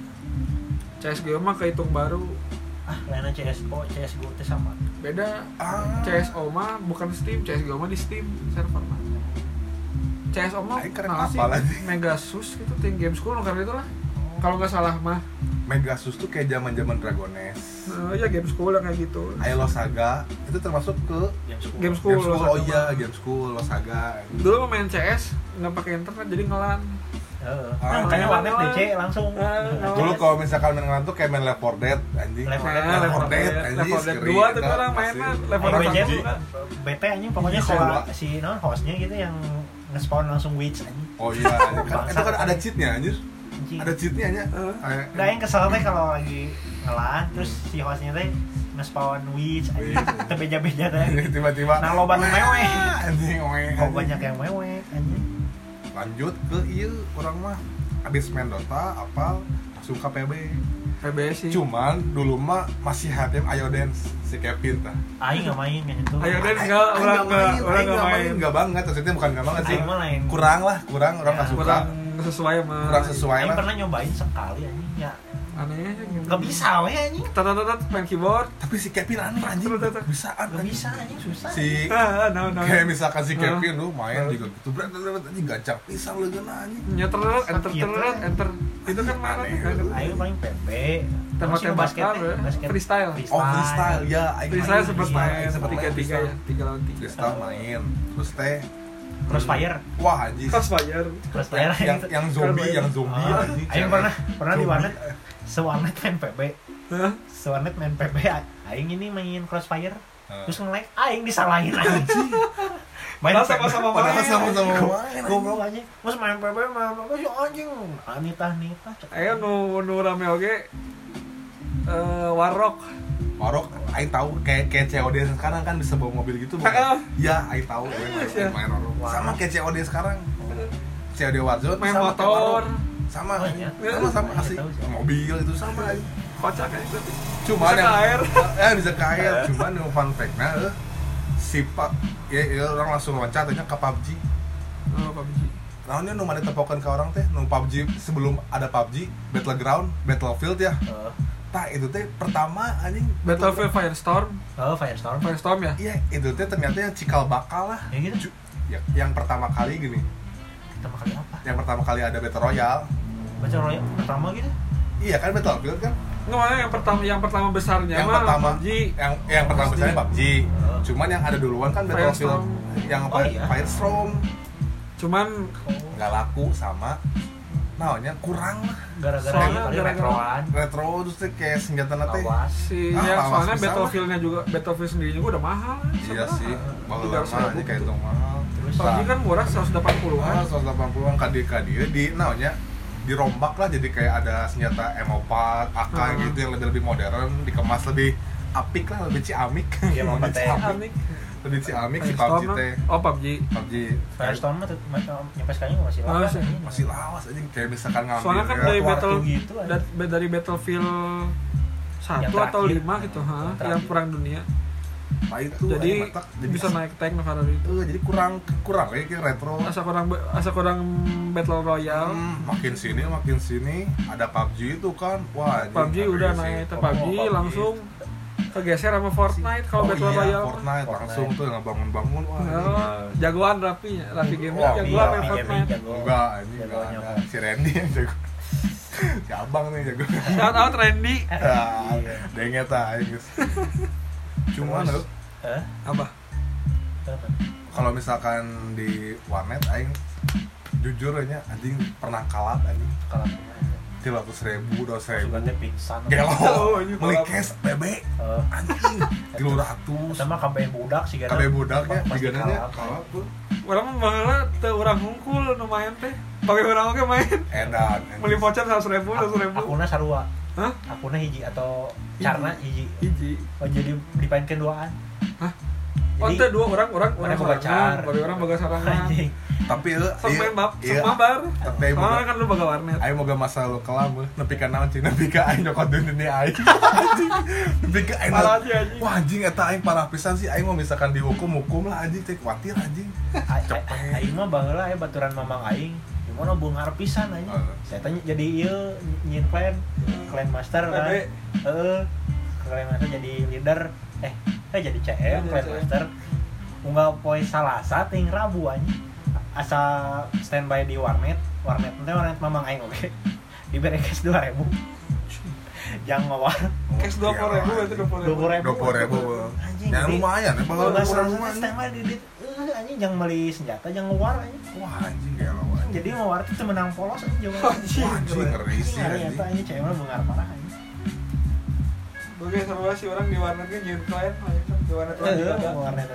S2: CSGO mah kehitung baru.
S3: Ah, lainnya CSO, CSGO teh sama.
S2: Beda
S1: Ah.
S2: CSO mah bukan Steam, CSGO mah di Steam server mah. CSO mah
S1: Ay, keren
S2: kenapa sih?
S1: apalan.
S2: Megasus gitu, Team Game School karena itu lah. Kalau nggak salah mah,
S1: Megasus tuh kayak zaman zaman Dragones
S2: Eh, ya Game School yang kayak gitu.
S1: Ayo Losaga itu termasuk ke
S3: Jam 10.
S2: Game school,
S1: Game School,
S2: Losaga
S1: oh iya
S2: mah.
S1: Game School Losaga
S2: Dulu mah main CS nggak pakai internet jadi ngelan.
S3: Heeh.
S1: Ah,
S3: Nah, makanya
S2: iya,
S3: warnet
S2: iya.
S3: DC langsung. Nah,
S2: Ah, iya.
S1: Dulu kalau misalkan main ngelantuk kayak main Left 4 Dead anjing.
S3: Left 4 Dead,
S2: Nah,
S3: Left
S2: level
S3: 4 Dead,
S1: Ya, anjing,
S2: level dead
S1: scary.
S2: dua tapi
S1: Nah,
S2: orang main
S1: pasti.
S2: mah level
S3: Level
S1: Orang
S2: dead
S1: main
S3: BC
S2: satu
S1: jadi-
S2: kan.
S3: BT anjing pokoknya
S1: Iya,
S3: kalau
S1: dua.
S3: si non hostnya gitu yang nge-spawn langsung witch anjing.
S1: Oh iya, anjing. Kan- itu kan ada cheatnya anjir.
S3: Anjing.
S1: Ada cheatnya anjir.
S2: Heeh.
S1: Kayak-
S3: Nah, yang kesel teh kalau lagi ngelan terus si hostnya teh ngespawn witch anjing tebeja-beja
S2: Iya.
S3: teh
S1: tiba-tiba
S3: Nah, loba nu mewe.
S1: anjing mewe
S3: kok banyak yang mewek anjing
S1: lanjut ke iya orang mah abis main Dota apal langsung ke PB
S2: PBS sih
S1: cuman dulu mah masih hati ayo dance si Kevin tah
S3: aing nggak main yang itu
S2: Ayo, Dan.
S1: Aing-
S2: Enggak,
S1: aing nggak
S2: orang nggak- orang
S1: aing
S2: nggak
S1: nggak
S2: main.
S1: nggak banget maksudnya bukan nggak banget sih
S3: aing mah lain
S1: kurang lah kurang orang nggak
S3: Ya,
S1: suka
S2: kurang sesuai sama
S1: kurang sesuai
S3: aing
S1: lah
S3: pernah nyobain sekali anjing ya
S2: anehnya gitu.
S3: nggak bisa weh anjing
S2: Tat, tat, tat, main keyboard
S1: tapi si Kevin aneh anjing
S2: Betul, betul.
S1: bisa
S3: nggak
S1: anjing
S3: bisa anjing susah
S1: si
S2: ah ah, nah nah
S1: Iya. kayak misalkan si
S2: Nah.
S1: Kevin lu main
S2: Nah.
S1: juga gitu berat berat anjing gacang pisang lu gena anjing
S2: nyeter enter
S3: Sakit,
S2: enter
S3: ya.
S2: enter itu kan marah
S1: Aneh. Iya,
S3: aing paling PB
S2: Tembak-tembakan,
S3: Masih basket
S2: weh.
S3: basket
S2: Freestyle.
S1: oh freestyle ya aing
S2: saya
S1: main,
S2: sempet
S1: iya,
S2: main
S1: aing sempet
S2: tiga tiga
S1: freestyle.
S2: ya tiga lawan tiga
S1: freestyle main terus teh
S3: crossfire
S1: wah anjing
S2: crossfire
S3: crossfire
S1: yang yang zombie yang zombie ya,
S3: Ah,
S1: anjing
S3: Aing
S1: cewek.
S3: pernah pernah di
S1: Zombie.
S3: warnet sewarnet main PB
S2: Hah?
S3: sewarnet main PB a- aing ini main crossfire
S1: Heeh.
S3: terus nge-lag aing disalahin aing main
S2: Padahal
S3: PB.
S2: sama-sama
S1: padahal
S2: main.
S1: sama-sama main
S3: goblok aja mas main PB main PB si anjing anita anita
S2: ayo nu nu rame oge eh warrock
S1: Marok, Aing tahu kayak kayak COD yang sekarang kan bisa bawa mobil gitu
S2: Heeh.
S1: bukan? Iya, Aing tahu Aing main,
S2: Iya.
S1: Aing main Warok.
S3: Wah.
S1: Sama kayak COD sekarang. COD Warzone
S2: main
S1: sama kayak
S2: motor
S1: Warok. sama
S3: Oh, iya.
S1: sama sama
S3: Iya,
S1: asli
S3: tahu sih.
S1: mobil itu sama Aing.
S2: kocak kan itu
S1: Cuman
S2: Bisa
S1: yang
S2: ke air.
S1: eh bisa ke air. Cuman yang fun fact-nya eh, si Pak ya, ya, orang langsung loncat tanya ke PUBG.
S2: oh PUBG
S1: Nah, ini nu mana tepokan ke orang teh, nu PUBG sebelum ada PUBG, Battleground, Battlefield ya.
S3: Eh,
S1: Tah itu teh pertama anjing
S2: Battlefield Firestorm
S3: oh firestorm
S2: Firestorm ya
S1: Iya, itu teh ternyata yang cikal bakal lah.
S3: ya gitu
S1: Ju- Ya, yang pertama kali gini,
S3: pertama kali apa
S1: yang pertama kali ada Battle Royale.
S3: baca royal pertama gitu
S1: Iya kan Battlefield kan?
S2: nggak mana yang pertama yang pertama besarnya
S1: yang
S2: mah
S1: pertama
S2: PUBG
S1: yang yang pertama
S2: Pasti.
S1: misalnya PUBG. Cuman yang ada duluan kan Battlefield
S2: Firestorm.
S1: yang
S3: Oh,
S1: Fi-
S3: iya.
S1: Firestorm
S2: cuman
S1: nggak laku sama naonnya kurang lah
S3: gara-gara
S2: Soalnya
S3: ini kali
S2: gara-gara-
S3: retroan
S1: retro terus teh kayak senjata nanti
S3: lawas
S2: si
S1: Ah,
S2: ya
S1: lawas
S2: soalnya
S1: bisa
S2: Battlefieldnya juga Battlefield sendiri juga udah mahal
S1: iya
S2: sebenarnya.
S1: sih bakal
S2: Tiga ratus
S1: lama
S2: ribu.
S1: aja kayak itu mahal
S3: Terus
S2: PUBG
S1: Nah,
S2: kan murah 180-an
S1: Ah, 180 an kadi kadi ya di naonnya dirombak lah jadi kayak ada senjata M4, AK
S2: Hmm.
S1: gitu yang lebih lebih modern dikemas lebih apik lah lebih ciamik
S3: Iya, mau
S1: Lebih
S3: pakai
S1: ciamik lebih ciamik si PUBG
S2: Ah, Firestorm,
S1: teh
S2: oh PUBG
S1: PUBG
S3: firestorm mah tetep- oh, nyampe sekarang masih lawas
S2: Lawas ya?
S3: anjing.
S1: masih lawas aja kayak misalkan ngambil
S2: Soalnya kan
S1: ya,
S2: dari
S1: keluar
S2: battle-
S1: tuh.
S3: gitu anjing.
S2: Dat- dari Battlefield
S3: Yang
S2: satu
S3: terakhir.
S2: atau lima gitu ha
S3: Yang terakhir.
S2: yang perang dunia
S1: Nah, itu
S2: jadi
S1: aing matak, jadi
S2: bisa naik tank Navara itu
S1: Eh, jadi kurang kurang ya, kayak kayak retro
S2: asa kurang asa kurang battle royale
S1: Hmm, makin sini makin sini ada PUBG itu kan wah anjing,
S2: PUBG udah
S1: sih.
S2: naik ke
S1: Oh,
S2: PUBG
S1: PUBG.
S2: langsung kegeser sama Fortnite kalau
S1: Oh
S2: battle
S1: iya,
S2: royale mah.
S1: Fortnite langsung tuh yang bangun-bangun wah anjing.
S2: Oh, jagoan Rapi ya, Rapi Gaming
S1: Wah,
S3: Tapi
S2: jagoan
S1: iya,
S2: main
S3: Rapi Gaming
S2: Fortnite.
S3: jago.
S1: Enggak, anjing
S3: Jago
S1: enggak ada.
S3: nyokap.
S1: Si Randy yang jago. si Abang nih jago.
S2: Shout out Randy.
S1: Ah, Denget ah, guys. Cuman
S3: Iya. Terus,
S1: lo
S3: eh,
S2: Apa?
S3: apa?
S1: kalau misalkan di warnet aing jujur aja anjing pernah kalap anjing
S3: kalau
S1: tiga ratus ribu dua ribu
S3: sugatnya pingsan
S1: gelo
S2: Oh, anjing,
S1: beli
S2: kalap.
S1: cash bebek
S3: Eh,
S1: anjing tiga ratus
S3: sama kabeh budak sih gara
S1: kabe budak ya
S3: Pasti
S1: digananya
S3: kalap.
S1: kalap tuh
S2: Orang mah baheula teu urang hungkul nu main teh. Pakai orang oge main.
S1: edan anjing.
S2: Beli voucher 100 ribu, 100 ribu.
S3: akunnya sarua
S2: Hah?
S3: akunnya hiji atau
S2: Hiji.
S3: carna hiji
S2: Hiji.
S3: oh jadi dipainkan duaan
S2: Hah? Oh, teh
S3: jadi
S2: dua orang, orang, orang
S3: mana kebacar
S2: sorangan, bari orang bagas sorangan.
S3: anjing
S1: tapi eh,
S2: Sok
S1: iya,
S2: main bab,
S1: iya.
S2: sok mabar.
S1: tapi aing
S2: Soalnya
S1: boga-
S2: kan lu baga warnet.
S1: Ayo moga masa lu kelam eh. Nepi ka naon cing nepi ka aing nyokot dunia aing. Anjing. Nepi ka aing.
S2: Parah sih, anjing.
S1: Wah anjing eta aing parah pisan sih aing mau misalkan dihukum hukum lah anjing teh khawatir anjing.
S3: A- a- aing mah baheula aya baturan mamang aing gimana bungar pisan anjing
S1: Eh.
S3: saya tanya jadi ieu nyin clan clan master kan
S2: Tapi-
S3: heeh clan master jadi leader eh eh jadi
S2: Jadi
S3: CM clan
S2: CM.
S3: master unggal poe salasa ting rabu anjing asa standby di warnet warnet teh warnet mamang aing oke diberi cash 2000 jangan ngawar
S2: Cash 20 ribu, berarti 20 ribu.
S3: 20.000.
S1: 20.000.
S3: Anjing,
S1: Ya
S3: jadi-
S1: lumayan ya
S3: kalau
S1: bawa
S3: nggak
S1: orang
S3: salah
S1: rumah. anjing.
S3: standby di di- eh, anjing jangan beli senjata jangan ngawar anjing
S1: Wah anjing ya lawan.
S3: Kan jadi ngawar itu menang polos aja juga Iya,
S2: Anjing.
S1: Anjing ngeri sih anjing. Iya,
S3: ternyata ini cewek mah bengar parah anjing
S2: kan, Oke, sama si orang di warnetnya nyuruh klien, di warnet orang
S3: Eh,
S1: Iya,
S2: juga ada.
S3: bengar neta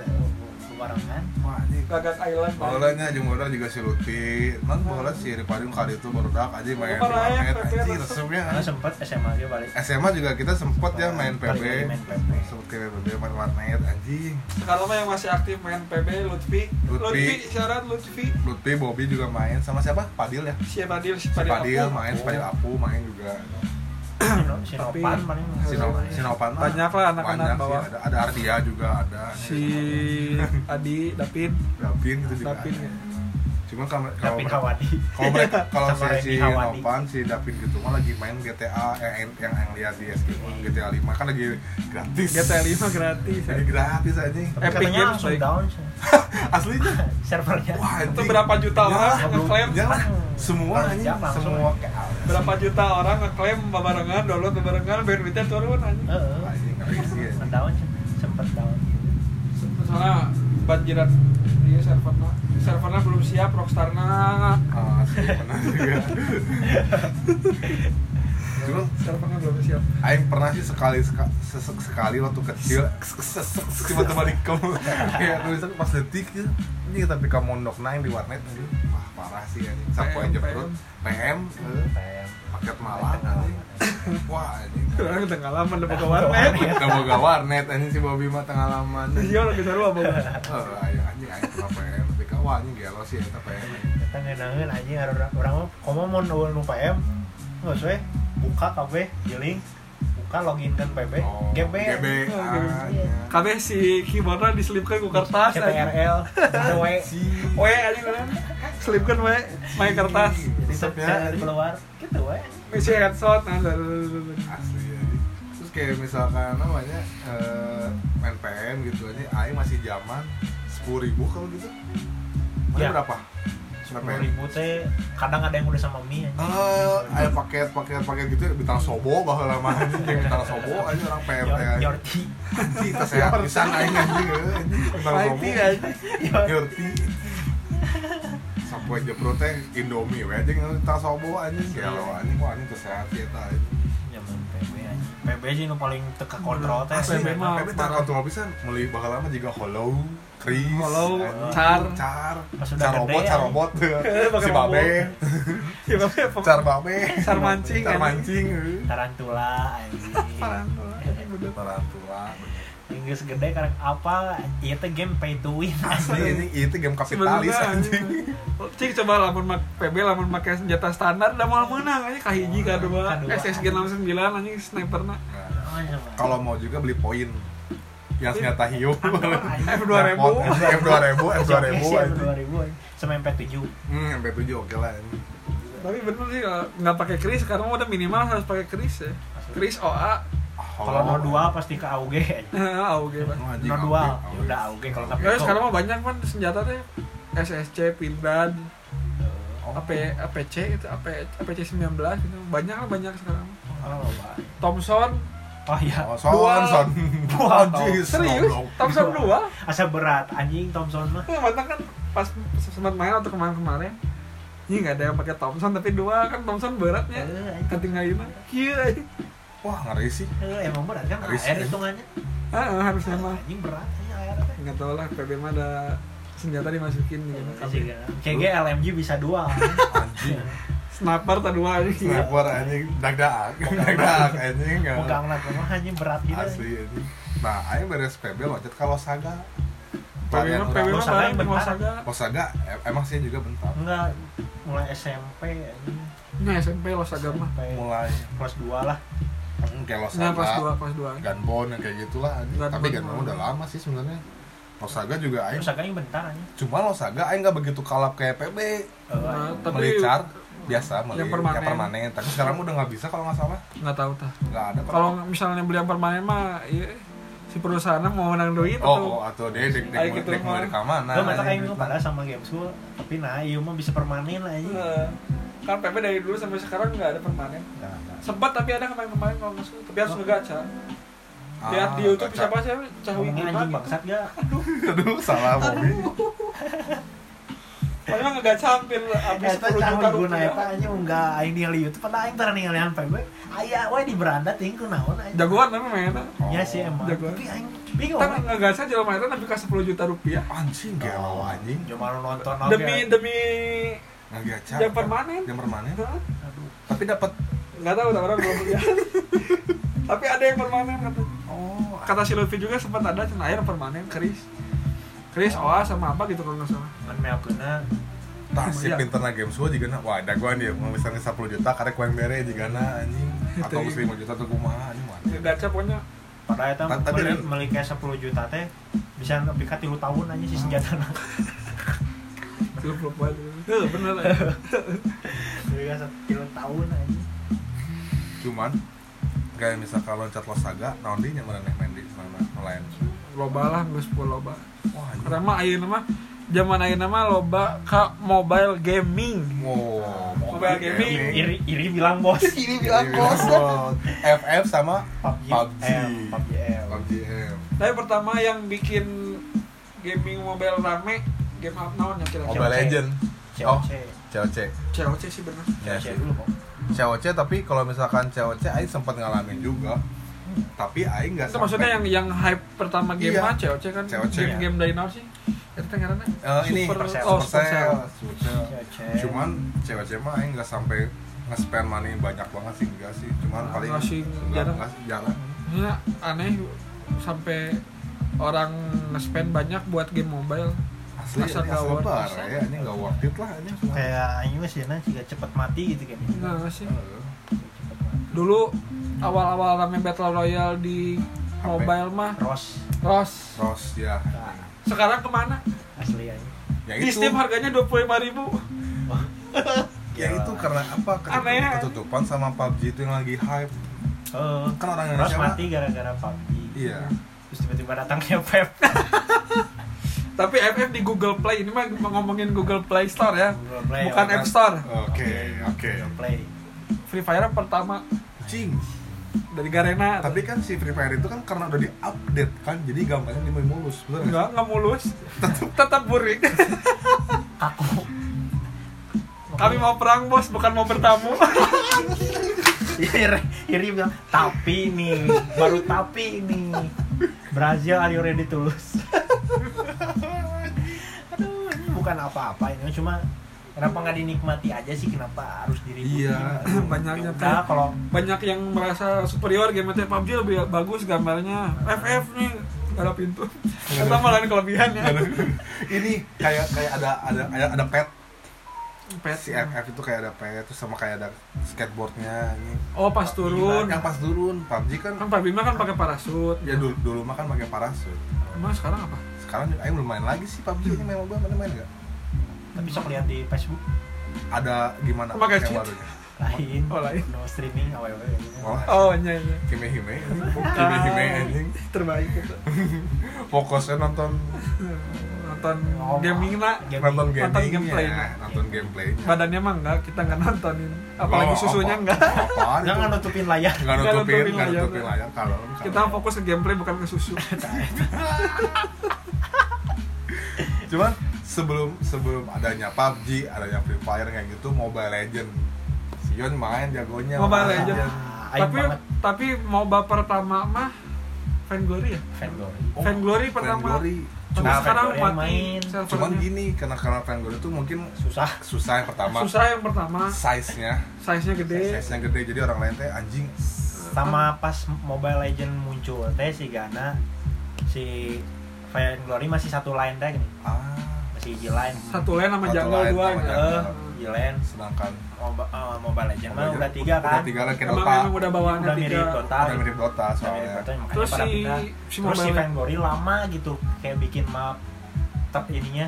S3: barengan
S2: Wah, anjing. Gagas Island. Bang.
S1: Bolanya jeung modal juga si Lutfi. Mang bola si Ripadung kali itu barudak aja main
S2: Apa lah ya,
S1: warnet
S2: PB
S1: anjing ya, kan?
S2: resep.
S1: resepnya.
S3: karena sempet SMA dia balik
S1: SMA juga kita sempet ya main
S3: Balik
S1: PB.
S3: lagi main PB.
S1: Sempet ke PB main warnet anjing.
S2: Sekarang mah yang masih aktif main PB Lutfi.
S1: Lutfi.
S2: syarat Lutfi.
S1: Lutfi, Bobby juga main sama siapa? Padil ya.
S2: Si Padil, si
S1: Si
S2: Padil.
S1: Padil
S2: Apung.
S1: main, si
S3: Oh.
S1: Padil Apu main juga.
S3: Sino,
S2: Tapi-
S3: Sinopan paling
S1: Sino- Sinopan mah
S2: Banyak lah anak-anak
S1: banyak sih.
S2: bawa.
S1: Ada, ada Ardia juga ada.
S2: Si Adi, David.
S1: Davin gitu juga.
S2: David
S1: ada.
S2: ya.
S1: Cuma kalau kalau
S3: Tapi Hawadi
S1: kalau mereka kalau
S3: Sama
S1: saya si
S3: Randy Hawadi.
S1: Novan si Davin gitu mah lagi main GTA eh, yang yang, yang lihat di SG mah, GTA 5 kan lagi gratis.
S2: GTA 5 gratis. ya.
S1: Jadi gratis aja.
S3: tapi
S2: Epic
S3: katanya
S2: Games
S3: langsung
S2: baik.
S3: down
S1: Aslinya.
S3: servernya
S1: Wah,
S2: Itu
S1: anjing.
S2: berapa juta Hmm.
S1: Jangan
S2: orang
S1: lah,
S2: ngeklaim?
S1: jangan lah. semua
S3: Langsung
S1: anjing,
S3: jam, langsung.
S1: semua kayak ah,
S2: Berapa juta orang ngeklaim barengan, download barengan, bayar duitnya turun anjing.
S3: Heeh.
S1: Anjing, crazy, anjing.
S3: sempet down sempet down
S2: Soalnya banjiran iya servernya. Servernya belum siap, Rockstarna.
S1: Ah, asli, pernah juga. Cuma
S2: Servernya belum siap.
S1: Aing pernah sih sekali seka- sesek sekali waktu kecil tiba-tiba di kamu kayak tulisan pas detik ya ini tapi kamu mondok naik di warnet ini wah parah sih ini sapu aja
S2: PM.
S1: perut PM eh, paket malang anjing. wah ini
S2: Orang udah ngalaman udah ke warnet.
S1: udah mau ke warnet ini si Bobby mah tengah laman
S2: Dia Iya, orang bisa ruang bawa.
S1: oh ayo anjing aing pernah PM tapi kau wah anjing gelo sih eta PM
S3: kita ngenangin anjing orang orang mah komo mau nol nu PM nggak sesuai buka kabeh giling buka login kan PB
S1: oh
S3: GB
S1: GB ah, iya.
S2: Iya. Kabeh si keyboardnya diselipkan ke kertas. anjing.
S3: CTRL W
S1: Si-
S2: We anjing orang. Selipkan we, main kertas.
S3: jadi
S1: Resepnya,
S3: sebentar
S1: ya, anjing.
S3: keluar gitu we
S2: Misi headshot. nah, dah, dah, dah, dah, dah.
S1: asli ya terus kayak misalkan namanya eh, main PM gitu aja Aing masih zaman sepuluh ribu kalau gitu Aing
S3: Ya.
S1: berapa
S3: sepuluh ribu teh eh. kadang ada yang udah sama mie anjing
S1: Eh, ada paket paket paket gitu bintang sobo bahwa lama aja kayak bintang sobo aja orang PM
S3: Yor-
S1: aja
S3: Yorti
S1: Anjing, kita sehat pisan aing anjing eh, anjing, bintang sobo
S2: Mati
S3: ya.
S2: anjing.
S3: Yor-
S1: ngerti sampai jepro teh indomie we aja bintang sobo aja sih
S3: Iya.
S1: anjing wah anjing tersehat ya ta
S3: Zaman PB anjing PB sih nu paling teka kontrol teh
S1: Asli,
S2: Asli,
S1: PB
S2: memang.
S1: mah PB tak kontrol pisan meuli bakal lama juga hollow, kris,
S2: Hollow,
S1: anjing,
S2: car.
S1: car,
S3: Pas udah
S1: car
S3: gede,
S1: robot, car
S3: anjing.
S1: robot, si
S2: pakai
S1: babe,
S2: Ya, babe, apa-
S1: car babe,
S2: Car mancing.
S1: car
S2: anjing.
S1: mancing,
S3: tarantula anjing
S2: Tarantula, anjing, bener.
S1: tarantula.
S3: Inggris gede karek apa ieu teh game pay to win
S1: Asli ini itu game kapitalis
S2: Sebenarnya
S1: anjing.
S2: anjing. Oh, Cik coba lamun mak PB lamun make senjata standar da moal meunang anjing kahiji kadua.
S3: Kadua.
S2: SSG 69 anjing sniperna.
S1: Nah,
S3: Anjing.
S1: Kalau mau juga beli poin yang senjata hiu
S2: F2000.
S1: F 2000 F 2000
S3: Jokesnya
S1: anjing.
S3: 2000 anjing. sama MP7
S1: hmm sampai tujuh oke lah anjing.
S2: Tapi bener sih kalau nggak pakai kris sekarang udah minimal harus pakai kris ya. Kris OA.
S3: kalau no dual pasti ke AUG anjing.
S2: Ah, Oke, Pak.
S1: Ah, Oh, anjing,
S3: no
S1: AUG,
S3: dual
S1: AUG.
S3: udah AUG kalau tapi
S2: Ya, sekarang mah banyak kan senjata teh SSC, Pindad,
S1: Oh.
S2: AP, APC itu AP, APC 19 gitu. Banyak lah banyak sekarang.
S3: oh, Pak.
S2: Thompson
S3: oh iya
S1: Oh, son,
S2: Dual.
S1: son.
S3: Dual.
S1: Anjing,
S2: serius
S1: goblok.
S2: Thompson 2
S3: asa berat anjing Thompson mah
S2: Nah, mantan kan pas sempat main atau kemarin-kemarin ini nggak ada yang pakai Thompson tapi dua kan Thompson beratnya
S3: Eh, anjing.
S2: ketinggalan mah iya anjing.
S1: Wah, ngeri sih.
S3: Eh, emang berat kan
S1: Risih,
S3: air
S1: anjing.
S3: hitungannya
S2: ah ah, harusnya mah
S3: anjing berat anjing air teh.
S2: nggak tau lah PB mah ada senjata dimasukin gitu. di
S3: Eh,
S2: kabin.
S3: sih, kan. KG LMG bisa dual anjing.
S2: sniper tak dua anjing.
S1: Sniper anjing, dag-dag, dag-dag anjing. nggak-
S3: Bukan lah, mah anjing berat gitu.
S1: Asli anjing. Nah, ayo beres PB loncat kalau Saga.
S2: PB mah PB mah
S3: Losaga
S2: barang
S3: yang
S2: di
S3: benar.
S2: Losaga.
S1: Kalau Saga em- emang sih juga bentar.
S3: Enggak mulai SMP anjing.
S2: Nah SMP Losaga mah.
S3: Sampai
S1: Mulai
S3: kelas 2 lah.
S1: hmm, kayak
S2: Nah pas dua
S1: Losaga,
S2: pas dua.
S1: Gunbon yang kayak gitulah anjing.
S2: Gunbon
S1: Tapi Gunbon
S2: mah.
S1: udah lama sih sebenarnya. Losaga juga aing.
S3: Terus agaknya bentar anjing.
S1: Cuma Losaga aing nggak begitu kalap kayak PB.
S3: Eh,
S2: Nah,
S3: anjing.
S2: tapi
S1: Melicar biasa meli,
S2: Yang permanen.
S1: Tapi sekarang udah nggak bisa kalau nggak salah.
S2: nggak tahu tah.
S1: Nggak ada.
S2: Kalau misalnya beli yang permanen mah iya, si perusahaan mau menang duit
S1: Oh, oh,
S2: atau
S1: atau dia dek dek
S2: Kayak gitu
S1: dek
S2: mah.
S1: mulai keamanan.
S3: Gue masa kayak gitu pada sama game school, tapi nah iya mah bisa permanen lah anjing.
S2: Eh, kan PB dari dulu sampai sekarang nggak ada permanen.
S3: Nah, nah.
S2: sempat tapi ada kemarin-kemarin kalau nggak salah tapi harus ngegaca
S1: Oh. Ah,
S2: lihat di YouTube
S1: baca.
S2: siapa siapa cahwi
S3: Ngomongin
S2: gimana
S3: anjing bangsat gak?
S1: Aduh, salah Bobby.
S2: padahal ngegaca hampir habis
S3: Eta
S2: 10
S3: cahwi
S2: juta
S3: guna
S2: rupiah
S3: eta anjing enggak aing ningali YouTube, padahal aing pernah ningali PB. Aya we di beranda ting ku naon anjing.
S2: jagoan tapi mainnya
S1: Oh.
S3: Ya sih emang.
S2: Jagoan.
S3: Tapi aing bingung
S2: Kita ngegaca jelema eta nepi ka 10 juta rupiah.
S1: anjing gak mau anjing
S3: cuma lu nonton oge.
S2: Demi demi
S1: nggak gacha
S2: jam permanen.
S1: jam permanen
S3: Aduh.
S1: tapi dapat
S2: Enggak tahu tak orang belum lihat. Tapi ada yang permanen kata.
S1: oh
S2: Kata si Lutfi juga sempat ada cenah air permanen keris. Keris oa sama apa gitu kalau nggak salah.
S3: kan meakeuna
S1: Tah si
S2: Iya.
S1: pinter na games gua juga na wah ada gua nih mau misalnya 10 juta karena kuen bere juga na anjing atau
S2: Itu iya.
S1: mesti 5 juta tuh kumaha anjing mana
S2: Gacha pokoknya
S3: padahal eta
S1: Tapi-
S3: meli meli kayak 10 juta teh bisa nepi ka 3 tahun aja si senjata na.
S2: belum belum buat. Tuh bener. ya.
S3: Nepi ka 3 tahun aja.
S1: cuman kayak misalkan loncat losaga naon di nya mereneh main di mana lain
S2: Loba lah geus poe loba.
S1: wah iya. anjing
S2: Karena mah ayeuna mah zaman ayeuna mah loba ka mobile gaming.
S1: wow
S2: Mobile gaming.
S3: Iri iri bilang bos.
S1: ini bilang bos FF sama
S3: PUBG.
S1: PUBG.
S3: M, PUBG. M.
S1: PUBG
S2: Tapi pertama yang bikin gaming mobile rame game apa naon ya kira-kira?
S1: Mobile Legend Oh,
S3: COC.
S1: COC
S2: COC sih bener.
S1: Ya
S3: COC
S1: sih.
S3: dulu kok.
S1: COC tapi kalau misalkan COC Aing sempat ngalamin juga tapi Aing nggak
S2: Itu maksudnya yang yang hype pertama game
S1: Iya.
S2: mah COC kan
S1: COC.
S2: game game dari nol sih. Itu teh ngaranna?
S1: iya. Eh, ini
S2: Super-
S1: Supercell.
S2: oh, Supercell.
S1: Supercell.
S3: COC.
S1: cuman cewek cewek mah aing nggak sampai nge-spend money banyak banget sih enggak sih cuman
S2: Ah,
S1: paling
S2: nggak sih,
S1: nggak-
S2: jarang.
S1: nggak sih, jarang
S2: Ya, aneh sampai orang nge-spend banyak buat game mobile.
S1: asli
S2: Masa
S1: asal
S2: nggak
S1: asal
S2: worth
S1: bar
S2: it.
S1: ya ini nggak worth it lah ini cuma
S3: kayak anjing mah sih nanti juga cepet mati gitu kan
S2: Nah, sih.
S1: Eh,
S3: Cepet mati.
S2: Dulu awal-awal rame Battle Royale di
S1: HP.
S2: mobile mah
S3: Ros
S2: Ros.
S1: terus ya
S3: Nah,
S2: Sekarang kemana?
S3: asli anjing
S1: ya
S2: Di
S1: itu
S2: Steam harganya 25.000 ribu.
S1: ya itu karena apa ketutup-
S2: Aneh.
S1: ketutupan sama PUBG itu yang lagi hype
S3: Eh,
S1: kan orang
S3: Ros
S1: Indonesia mah-
S3: mati gara-gara PUBG
S1: iya
S3: terus tiba-tiba datangnya Pep
S2: Tapi FF di Google Play ini mah ngomongin Google Play Store ya.
S3: Google Play
S2: Bukan
S3: orang-
S2: App Store.
S1: oke oke
S3: Google Play
S2: Free Fire pertama
S1: cing
S2: dari Garena.
S1: tapi kan si Free Fire itu kan karena udah di-update kan jadi gambarnya dia main mulus bener nggak
S2: enggak enggak mulus. Tetap burik.
S3: kaku
S2: Kami mau perang bos, bukan mau bertamu.
S3: iri iri bilang tapi nih baru tapi nih Brazil are you ready to lose aduh ini bukan apa-apa ini cuma kenapa nggak dinikmati aja sih kenapa harus diributin
S1: Iya.
S2: Banyaknya
S3: Nah, kalau
S2: banyak yang merasa superior game itu PUBG lebih bagus gambarnya. FF nih nggak ada pintu. Kita malah ya. kelebihannya.
S1: ini kayak kayak ada ada ada, ada pet
S2: Pet.
S1: si FF itu kayak ada pet terus sama kayak ada skateboardnya ini
S2: Oh pas turun.
S1: yang pas turun PUBG kan
S2: Kan Pak Bima kan pakai parasut.
S1: ya dulu dulu mah kan pakai parasut
S2: Emang sekarang apa?
S1: sekarang juga Aing belum main lagi sih PUBG ini main sama gua mana main nggak
S3: tapi sok lihat di Facebook
S1: ada gimana
S2: Pakai cheat.
S1: yang barunya
S3: lain
S2: Oh, lain.
S3: no streaming iya, aww
S1: Wah,
S2: Oh iya iya.
S1: hime hime hime hime
S2: Ah.
S1: anjing
S2: Terbaik itu.
S1: fokusnya nonton
S2: Nonton gaming lah.
S1: nonton
S3: gaming
S2: Nonton
S1: gameplay
S2: gameplaynya.
S1: nonton gameplaynya
S2: Badannya mah enggak, kita nggak nontonin. Apalagi
S1: Oh,
S2: susunya
S1: apa-
S2: enggak.
S1: apaan itu?
S3: jangan nutupin layar
S1: nggak
S2: Nggak
S1: nutupin
S2: nutupin
S1: nggak
S2: layar.
S1: nutupin layar kalau kalau-
S2: Kita fokus ke gameplay bukan ke susu.
S1: cuman sebelum sebelum adanya PUBG adanya Free Fire kayak gitu Mobile Legend Sion main jagonya
S2: Mobile
S1: main.
S2: Legend.
S3: Ah, aing
S2: tapi
S3: banget
S2: tapi mau baper pertama mah Vainglory ya?
S3: Fangirl.
S1: Oh,
S2: Vainglory pertama.
S1: Vainglory.
S2: Tapi
S1: Cuman,
S3: Nah,
S2: sekarang
S3: Vainglory
S2: mati
S3: main.
S2: servernya.
S1: cuman gini karena karena Vainglory itu mungkin
S3: susah
S1: susah yang pertama
S2: Susah yang pertama,
S1: size nya
S2: size-nya gede.
S1: size nya gede jadi orang lain teh anjing
S3: sama pas Mobile Legend muncul teh si Gana si Vainglory masih satu line teh gini
S1: ah
S3: masih hiji line
S2: Satu lane sama
S1: Satu
S2: jungle
S1: lane
S2: dua.
S1: sama
S2: gitu.
S1: jungle.
S3: eh hiji line
S1: sedangkan
S3: Moba- eh, Mobile Legend mah
S1: Mobile
S3: udah
S1: Legend
S3: tiga
S1: udah
S3: kan
S1: tiga lah kayak
S2: Emang
S1: Dota
S2: emang udah bawaannya
S3: udah mirip
S2: tiga.
S3: Dota
S1: udah mirip Dota
S3: Udah mirip Dota,
S1: soalnya
S3: makanya
S2: Iya. Terus
S3: pada
S2: si
S3: pindah.
S2: si
S3: terus si
S2: Mobile-
S3: Vainglory lama gitu kayak bikin map tab ininya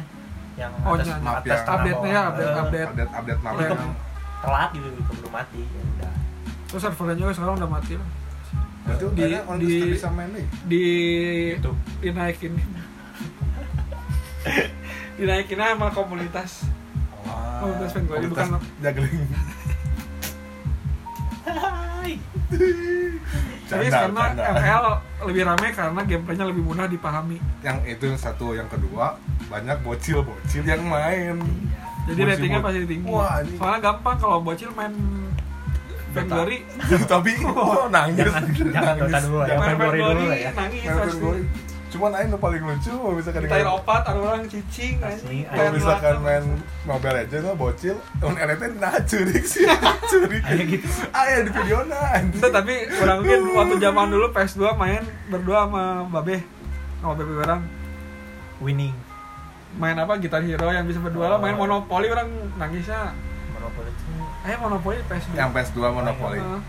S3: yang
S2: Oh,
S3: atas,
S2: iya,
S1: map
S3: atas
S1: yang-
S3: tanah
S2: update-nya ya,
S3: bawah.
S2: update-
S3: Eh,
S2: update.
S1: update update map
S2: Iya.
S1: yang-
S3: telat gitu gitu belum mati ya udah
S2: Terus servernya juga sekarang udah mati lah.
S1: berarti
S2: Di-
S1: kayaknya orang
S2: di-
S1: itu bisa main nih
S2: Di
S3: Gitu.
S2: dinaikin. dinaikin sama komunitas.
S1: Wah,
S2: Oh, terus Vainglory
S1: komunitas
S2: bukan-
S1: juggling.
S3: Hai.
S2: Tapi
S1: Canda,
S2: karena
S1: canda.
S2: ML lebih rame karena gameplaynya lebih mudah dipahami.
S1: yang itu yang satu yang kedua banyak bocil bocil yang main
S2: Jadi
S1: Bocil-
S2: ratingnya
S1: bo-
S2: pasti tinggi.
S1: wah ini
S2: Soalnya gampang kalau bocil main Vainglory
S1: tapi oh, nangis
S3: jangan jangan Dota dulu lah ya
S2: main
S3: Vainglory dulu
S2: Vainglory
S3: lah ya
S2: nangis
S1: Main
S2: pasti.
S1: Vainglory. cuman aing nu paling lucu kalau misalkan
S2: Kita Iya, opat, ada orang cicing anjing.
S3: Asli,
S1: kalau
S2: Tayar
S1: misalkan
S2: belakang.
S1: main Mobile Legends mah bocil on RT nah curik sih curik
S3: Aya gitu.
S1: aya di video nah
S2: Entah, tapi orang mungkin waktu zaman dulu PS2 main berdua sama Babe sama Babe orang
S3: winning
S2: main apa gitar hero yang bisa berdua lah main
S3: Oh.
S2: monopoli orang nangisnya
S3: Monopoly tuh
S2: eh monopoli PS2
S1: yang PS2 monopoli
S2: Heeh.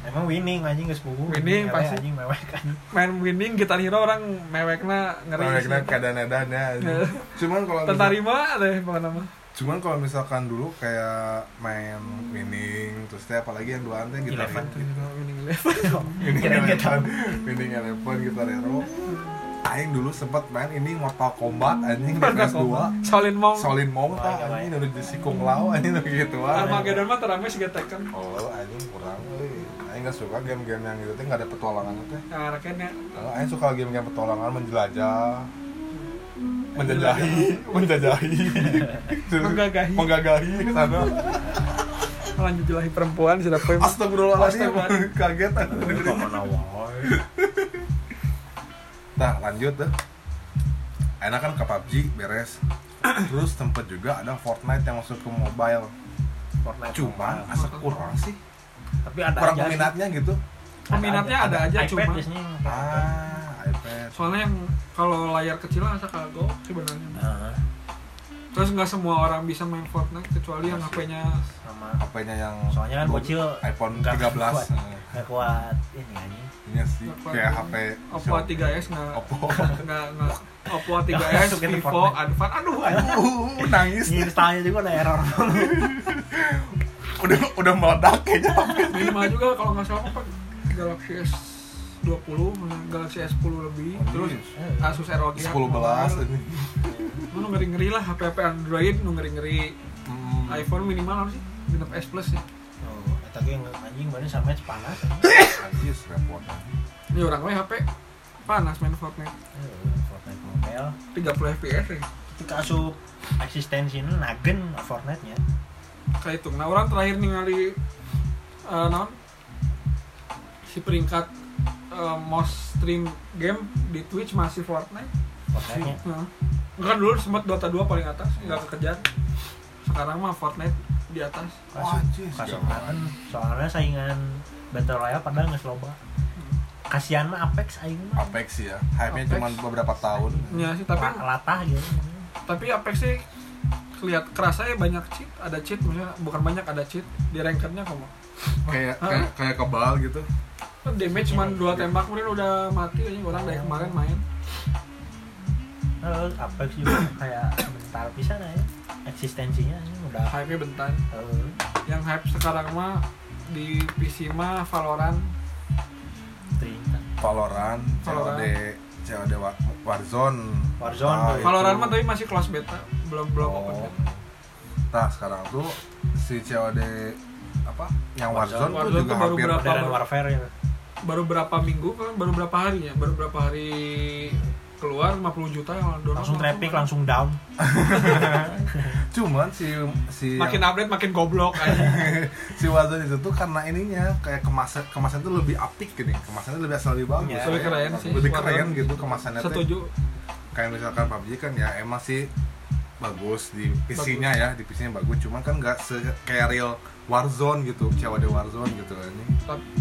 S3: emang winning anjing geus buku
S2: Winning,
S3: Ewe
S2: pasti.
S3: anjing mewek kan. anjing
S2: main winning gitar hero orang mewekna kan. ngeri
S1: Nah,
S2: sih.
S1: kena keadaan-keadaan ya.
S2: Iya.
S1: Cuman kalau
S2: Tentarima ada yang mana mah
S1: cuman kalau misalkan dulu kayak main winning terus teh apalagi yang duaan teh gitar ya.
S3: Eleven.
S2: winning level
S1: winning
S3: Kirain
S1: eleven
S3: kita-
S2: gitu.
S1: winning eleven gitar hero aing dulu sempet main ini Mortal Kombat anjing di
S2: Mortal
S1: PS2
S2: Kombat. Shaolin Monk
S1: Solin mau
S3: Oh, iya,
S1: tak ah, anjing udah di sikung lau anjing udah gitu ah
S2: Armageddon mah teramai sih kan. Tekken
S1: oh anjing kurang euy. aing gak suka game-game yang gitu teh gak ada petualangannya teh
S2: nah rakyatnya
S1: Kalau Aing suka game-game petualangan menjelajah menjelajahi menjelajahi
S2: Menggagahi.
S1: menggagahi ke sana
S2: lanjut jelahi perempuan sudah poin
S1: astagfirullahaladzim
S2: Astagfirullah.
S1: kaget aku dengerin.
S3: mana wae
S1: nah lanjut deh enak kan ke PUBG beres terus tempat juga ada Fortnite yang masuk ke mobile
S3: Fortnite
S1: cuman
S3: mobile.
S1: asa kurang sih
S3: tapi ada
S1: Ah, kurang
S3: aja sih.
S1: peminatnya gitu
S2: peminatnya ada aja
S3: iPad
S2: cuma
S3: biasanya yang ada.
S1: ah iPad
S2: soalnya yang kalau layar kecil lah asal kagok sebenarnya
S1: Ah.
S3: Nah,
S2: terus nggak semua orang bisa main Fortnite kecuali yang HP-nya
S3: sama
S1: HP-nya yang
S3: soalnya kan
S1: dulu
S3: bocil
S1: iPhone
S3: nggak
S1: 13
S3: kuat.
S1: Nah,
S3: nggak kuat ini anjing
S1: Iya sih
S2: Nggak kuat.
S1: kayak HP
S2: Oppo
S1: Xiaomi.
S3: ya?
S2: A3s nggak
S1: Oppo
S2: nggak nggak Oppo A3s
S3: Masukin ke
S2: Vivo
S3: Fortnite.
S2: Advan aduh aduh.
S1: Uh, nangis
S3: installnya juga ada error
S1: udah udah meledak kayaknya
S3: Iya.
S2: minimal juga kalau nggak salah apa Galaxy S 20 Galaxy S10 lebih terus Asus ROG
S1: Oh, iya. sepuluh belas ini
S2: lu ngeri ngeri lah HP HP Android lu ngeri ngeri
S1: Hmm,
S2: iPhone minimal apa sih genap S plus ya
S3: Oh, eta ge nge- anjing baru sampai panas
S1: anjir repot
S2: ini orang lain HP panas main Fortnite
S3: Fortnite mobile
S2: 30 fps ya
S3: ketika asup eksistensi nagen Fortnite nya
S2: kahitung nah orang terakhir ningali eh non si peringkat eh, most stream game di Twitch masih Fortnite
S3: Fortnite nya
S2: nah. kan dulu sempat Dota 2 paling atas nggak kekejar sekarang mah Fortnite di atas
S1: Wah, anjing,
S3: kasih
S1: gawat.
S3: nagen soalnya saingan battle royale padahal nggak loba kasihan mah Apex aing mah
S1: Apex sih ya hype-nya
S2: Apex.
S1: cuma beberapa tahun
S2: ya sih tapi
S3: La- latah gitu
S2: tapi Apex sih kelihat kerasa ya banyak cheat ada cheat misalnya bukan banyak ada cheat di rankernya kamu
S1: kayak
S2: Hah?
S1: kayak kayak kebal gitu
S2: damage cuma dua tembak kemudian udah mati aja orang dari kemarin main
S3: terus Apex juga kayak bentar pisan aja eksistensinya anjing udah
S2: hype nya bentan
S3: eh,
S2: yang hype sekarang mah di PC mah Valorant
S3: teringat.
S1: Valorant
S2: Valorant.
S1: COD COD Wa- Warzone
S3: Warzone,
S1: Nah,
S3: Valorant.
S1: itu.
S2: Valorant mah tapi masih close beta belum belum open
S1: Oh.
S2: beta
S1: nah sekarang tuh si COD apa yang Warzone, tuh
S3: Warzone.
S2: Warzone
S1: juga
S2: tuh baru
S1: hampir
S2: berapa?
S3: modern warfare ya
S2: baru berapa minggu kan baru berapa hari ya baru berapa hari keluar 50 juta yang download
S3: langsung traffic langsung down
S1: cuman si si
S2: makin update makin goblok aja
S1: si Warzone itu tuh karena ininya kayak kemasan kemasan tuh lebih apik gini kemasannya lebih asal lebih bagus
S3: Iya.
S2: Lebih
S1: Kayak
S2: keren sih,
S1: lebih
S2: Warzone.
S1: keren gitu kemasannya tuh
S2: setuju
S1: kayak misalkan PUBG kan ya emang sih bagus di PC-nya ya di PC-nya bagus cuman kan nggak se kayak real Warzone gitu COD Warzone gitu kan ini
S2: tapi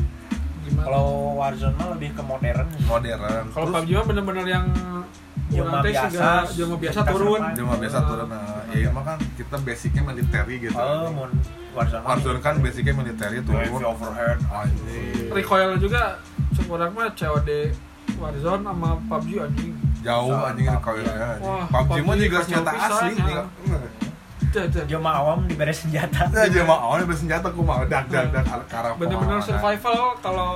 S2: gimana
S3: kalau Warzone mah lebih ke modern
S1: modern
S2: Kalau
S1: Terus,
S2: PUBG mah bener-bener yang
S3: Jelma
S2: orang teh
S3: biasa,
S2: siga- jelma biasa
S3: kita
S2: turun.
S3: serang.
S1: cuma biasa turun nah, ya emang kan kita basicnya military gitu
S3: oh
S1: kan.
S3: mon Warzone mah
S1: Warzone kan basicnya military turun
S3: Wave overhead.
S1: Anjing.
S2: Recoil juga sekurang mah COD Warzone sama PUBG anjing.
S1: jauh
S3: Sama
S1: anjing
S3: PUBG.
S1: recoilnya anjing.
S2: Wah,
S1: PUBG mah
S2: PUBG
S1: juga
S2: kacau
S1: senjata
S2: pisan,
S1: asli
S2: ya.
S1: nih.
S2: Dah, dah.
S3: dia mah awam diberes senjata
S1: Nah, aja mah awalnya bersenjata aku mau dak dak dak karang. nah,
S2: Bener-bener survival kalau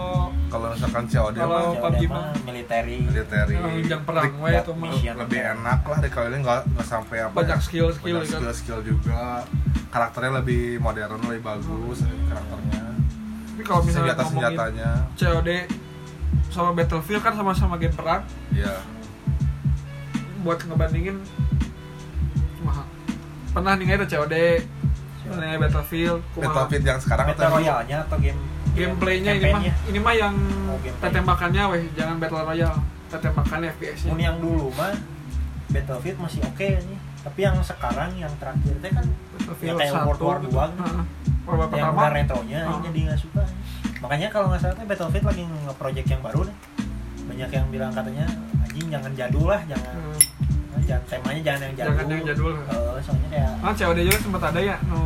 S1: Kalau misalkan COD
S2: Kalau
S1: mah
S3: Jawa
S2: PUBG
S3: mah
S2: mah.
S3: militeri
S1: military.
S2: Emang yang perang
S1: Dik-
S2: we itu mah.
S1: lebih- Oh, iya, lebih enak lah recoilnya nggak nggak sampai apa.
S2: iya. banyak
S1: ya.
S2: skill-skill
S1: Banyak
S2: kan.
S1: skill skill juga. Karakternya lebih modern, lebih bagus eh, karakternya.
S2: Tapi kalau misalnya
S1: Senjata
S2: ngomongin
S1: senjatanya,
S2: COD sama Battlefield kan sama-sama game perang
S1: ya.
S2: buat ngebandingin mah pernah nih ada COD pernah ningali Battlefield kumaha.
S1: Battlefield yang sekarang
S3: Battle Royale-nya atau game
S2: gameplaynya ini mah
S3: campaign-nya?
S2: ini mah yang
S3: Oh, gameplay.
S2: tembakannya weh jangan battle royale tetembakan FPS
S3: Mun
S2: nya
S3: yang dulu mah Battlefield masih oke nih. Tapi yang sekarang yang terakhir teh kan
S2: Battlefield
S3: kayak World
S2: satu
S3: War
S2: gitu.
S3: dua gitu.
S2: Heeh. World War
S3: yang
S2: pertama
S3: udah retronya
S2: Ah.
S3: jadi nggak suka. Makanya kalau nggak salah teh Battlefield lagi nge-project yang baru nih. Banyak yang bilang katanya anjing jangan jadul lah, jangan
S2: Hmm.
S3: jangan temanya jangan yang jadul.
S2: Jangan yang jadul.
S3: Eh, soalnya kayak
S2: Kan COD juga sempat ada ya, no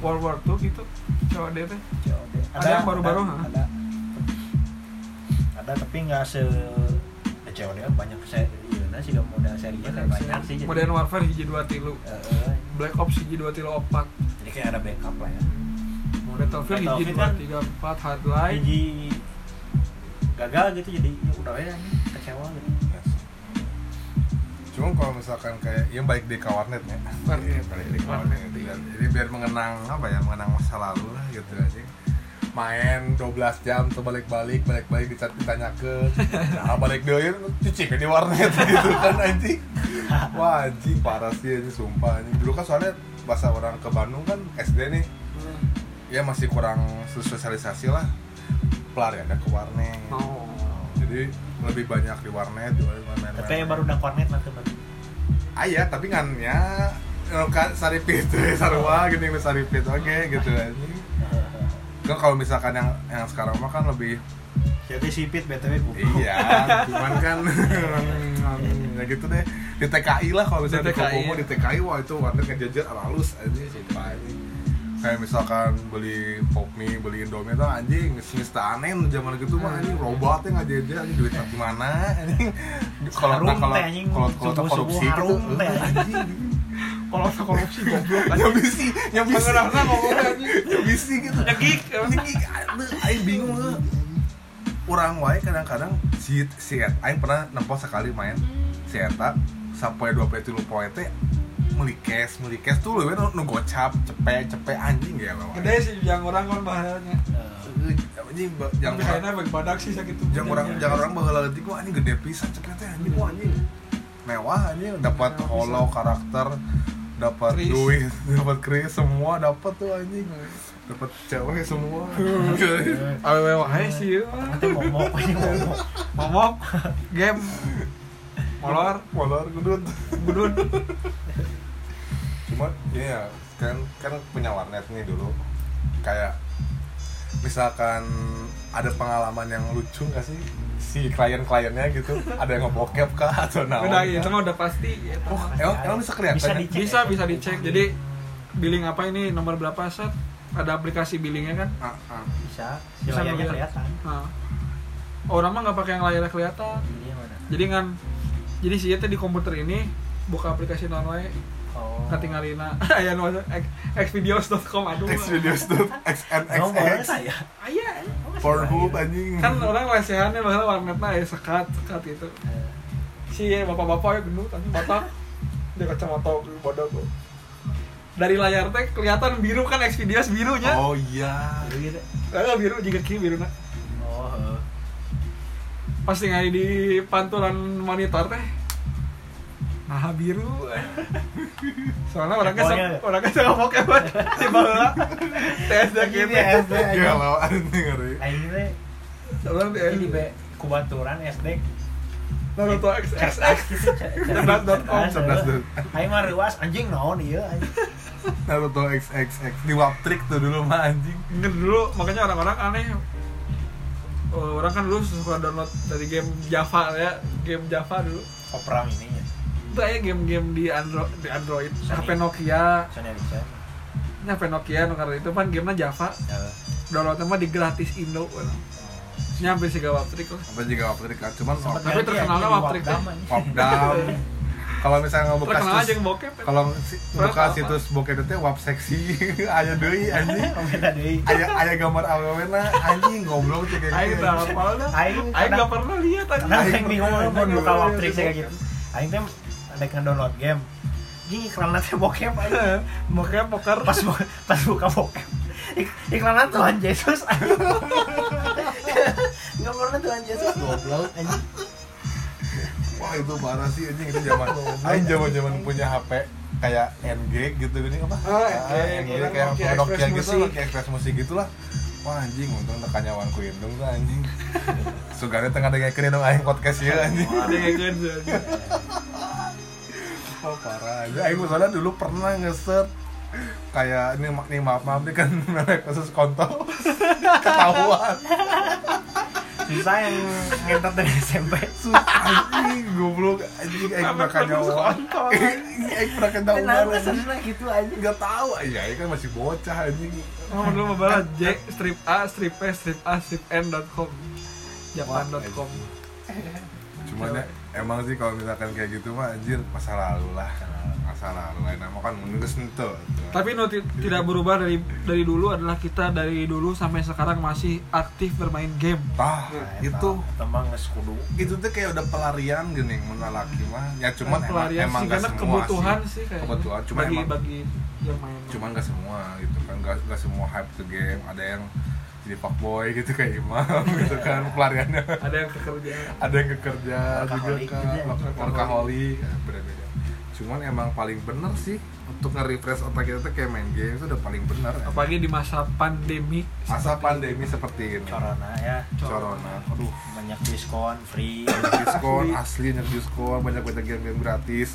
S2: World War 2 gitu. COD teh.
S3: COD.
S2: Ada yang baru-baru,
S3: ada,
S2: ha?
S3: ada, ada tapi nggak se eh, COD kan banyak seri iya sih modal serinya kayak banyak sih jadi-
S2: Modern Warfare hiji 2 tilu.
S3: Eh, eh,
S2: Black Ops hiji 2 tilu 4.
S3: jadi kayak ada backup lah ya
S2: Battlefield hiji
S3: Battlefield
S2: 2
S3: kan
S2: 3 4 Hardline.
S3: jadi gagal gitu jadi ya udah ya ini kecewa gitu
S1: Cuma kalau misalkan kayak yang baik di kawarnet ya.
S2: Warnet. iya.
S1: Balik di kawarnet. Biar- Jadi biar mengenang apa ya, mengenang masa lalu lah gitu aja. Main 12 jam tuh balik-balik, balik-balik dicat ditanya ke. Nah, balik deui cuci ke di warnet gitu kan anjing. Wah, anjing parah sih ini sumpah anjing. Dulu kan soalnya bahasa orang ke Bandung kan SD nih ya masih kurang sosialisasi lah pelariannya ke warnet
S2: Oh.
S1: jadi lebih banyak di warnet di warnet
S3: tapi ya baru udah kornet nanti baru
S1: ayah tapi kan ya kan sari pitu sarwa gini mah sari pitu oke gitu anjing kan kalau misalkan yang yang sekarang mah kan lebih
S3: jadi sipit btw gue
S1: iya cuman kan ya gitu deh di TKI lah kalau misalnya
S2: Di
S1: di
S2: TKI,
S1: Kokomo
S2: ya.
S1: di TKI wah itu warnet ngejajar halus aja sumpah anjing. kayak misalkan beli pop mie, beli indomie itu anjing ngemis tanen zaman gitu mah
S3: Hmm.
S1: anjing robotnya ngajajar anjing duitnya gimana anjing kalau
S3: Harum
S1: kalau
S3: teh, anjing.
S1: kalau kalau tak
S3: Subuh-subuh
S1: korupsi gitu
S3: harum teh,
S1: eh, anjing
S2: Kalau tak korupsi goblok kan.
S1: nyabisi nyabisi
S2: Pengenarna ngomongnya anjing.
S1: nyabisi gitu
S2: Nyegik. ya.
S1: ini aing bingung lah orang wae kadang-kadang si si Eta- aing pernah nempo sekali main si eta sampai dua poe tilu poe teh melikes melikes tuh leuwih nu nu gocap cepe cepe anjing ya lawan
S2: Gede sih yang orang kan bahasanya.
S1: anjing ba-
S2: Yang
S1: jangan
S2: kayaknya bagi badak sih sakit tuh.
S1: jangan orang jangan orang baheula leutik wah anjing gede pisan cepe teh anjing wah anjing mewah anjing dapat
S2: Mewah
S1: holo karakter dapat
S2: Kris. Iya.
S1: duit dapat kris semua dapat tuh anjing dapat cewek semua
S2: Awewe wae sih. ya.
S3: nanti momok ini momok
S2: Momok game molor
S1: molor gedut
S2: budun
S1: cuma ya kan kan punya warnet nih dulu kayak misalkan ada pengalaman yang lucu nggak sih si klien-kliennya gitu ada yang ngebokep kah atau naon
S2: udah Nah, oh, itu mah udah pasti ya.
S1: oh emang, emang bisa kelihatan
S3: Bisa
S1: ya?
S3: dicek.
S2: bisa bisa dicek jadi billing apa ini nomor berapa set ada aplikasi billingnya kan
S1: Ah, ah.
S3: bisa si
S2: Bisa
S3: layarnya
S2: ngeliat.
S3: kelihatan
S2: nah, orang mah nggak pakai yang layarnya kelihatan
S3: ini mana
S2: jadi kan jadi sih teh di komputer ini buka aplikasi non wae
S3: oh
S2: katingalina aya nu X- xvideos.com aduh Ah, iya,
S1: Xvideos tuh
S3: Oh, boleh
S1: XNXX
S3: saya
S2: aya
S1: Pornhub anjing
S2: oh, kan orang lesehannya bahwa warnetnya aya sekat sekat itu si bapak-bapak ya gendut anjing botak dia kacamata bodoh tuh dari layar teh kelihatan biru kan Xvideos birunya
S1: oh iya
S3: Gitu, gitu.
S2: Kalau biru juga kiri biru na.
S3: oh eh.
S2: Pas tinggal di pantulan monitor teh. Nah biru. Soalnya orangnya sok,
S3: Pokoknya-
S2: orangnya sok mau kebat di bawah. Tes dah
S3: Ini
S2: gitu.
S3: SD aja
S1: galau anjing ngeri
S3: Aing teh
S2: Orang di
S3: ini be kubaturan SD
S2: Naruto XXX. Cerdas.com.
S1: cerdas tuh
S3: Aing mah ruas anjing naon ieu anjing.
S1: Naruto XXX di Waptrik tuh dulu mah anjing
S2: Mungkin dulu makanya orang-orang aneh. Oh, orang kan dulu suka download dari game Java ya, game Java dulu.
S3: Opera mininya.
S2: Itu aja game-game di Android, di Android,
S3: Sony.
S2: HP Nokia,
S3: Sony Ericsson.
S2: Ini HP Nokia nu karena itu kan gamenya Java.
S3: Heeh.
S2: downloadnya mah di gratis Indo nyampe sih gak waptrik lah
S1: apa juga Waptrik kan cuman
S3: Sempet
S2: Tapi
S3: ganti
S2: terkenalnya
S3: anjing di
S2: Waptrik teh.
S3: Wapdam, anjing.
S1: Wapdam kalau misalnya nggak bekas
S2: terkenal aja
S1: terus
S2: yang bokep ya.
S1: kalau si-
S2: Orang
S1: buka
S2: apa?
S1: situs bokeh itu wap seksi aya deui anjing
S3: Oh, beda deui.
S1: aya aya gambar awewena anjing goblok cek kayak
S2: Aing
S1: gitu,
S2: tak
S1: anjing.
S2: hafal dah
S3: Aing
S2: Aing
S3: kadang-
S2: gak pernah lihat
S3: Karena
S2: aja
S3: aing bingung
S1: Aing
S3: mun buka
S1: pernah.
S3: Waptrik sih kayak gitu. Aing teh ada yang download game. Anjing iklannya teh bokep aing.
S2: bokep poker
S3: Pas bu- pas buka bokep. Ik- Iklannya Tuhan Yesus anjing. Enggak pernah Tuhan Yesus goblok anjing.
S1: wah itu parah sih anjing itu zaman
S2: Iya.
S1: aing zaman-zaman punya HP kayak NG gitu gini apa
S2: Ah,
S1: Ah,
S2: NG,
S1: NG, kayak
S2: Nokia
S1: Nokia
S2: Express
S1: gitu
S2: Music.
S1: Nokia Express musik gitulah wah anjing untung tekannya wanku indung tuh anjing Sugana tengah dengerin dong aing podcast ieu anjing.
S2: ada yang gitu gede
S1: Oh parah aja. Aing soalnya dulu pernah ngeset kayak ini ma- nih maaf maaf nih kan merek khusus kontol ketahuan
S3: susah yang ngentot dari SMP
S1: susah anjing goblok anjing aing
S2: Merek
S1: makan
S2: khusus
S1: nyawa
S2: kontol,
S1: Anjing, aing pernah ketahuan
S3: kenapa
S1: anjing.
S3: sebenarnya gitu aja
S1: nggak tahu ya aing kan masih bocah anjing
S2: nomor dulu mobile J strip A strip P strip A strip N dot com Japan.com
S1: cuman
S2: Iya.
S1: ya, emang sih kalau misalkan kayak gitu mah anjir masa lalu lah masa lalu lain emang kan menunggu sentuh
S2: tapi no, ti- tidak berubah dari dari dulu adalah kita dari dulu sampai sekarang masih aktif bermain game
S1: tah ya
S2: Iya,
S1: itu
S3: tembang kudu
S1: itu tuh kayak udah pelarian gini menalaki mah ya cuman emang-
S2: pelarian
S1: emang
S2: sih
S1: nggak
S2: karena
S1: semua
S2: kebutuhan sih,
S1: sih
S2: kayaknya
S1: kebutuhan cuman
S2: bagi
S1: emang
S2: bagi yang main
S1: cuman nggak semua gitu kan nggak nggak semua hype ke game ada yang jadi fuckboy gitu kayak imam gitu kan pelariannya
S2: ada yang kekerjaan
S1: ada yang ke kerja juga
S3: Workaholic
S1: kan
S3: gitu ya.
S1: workaholic ya, beda-beda cuman emang paling bener sih untuk nge-refresh otak kita tuh kayak main game itu udah paling bener ya.
S2: apalagi di masa pandemi
S1: masa pandemi seperti ini
S3: corona ya
S1: corona aduh
S3: banyak diskon free
S1: diskon asli banyak diskon banyak banyak game-game gratis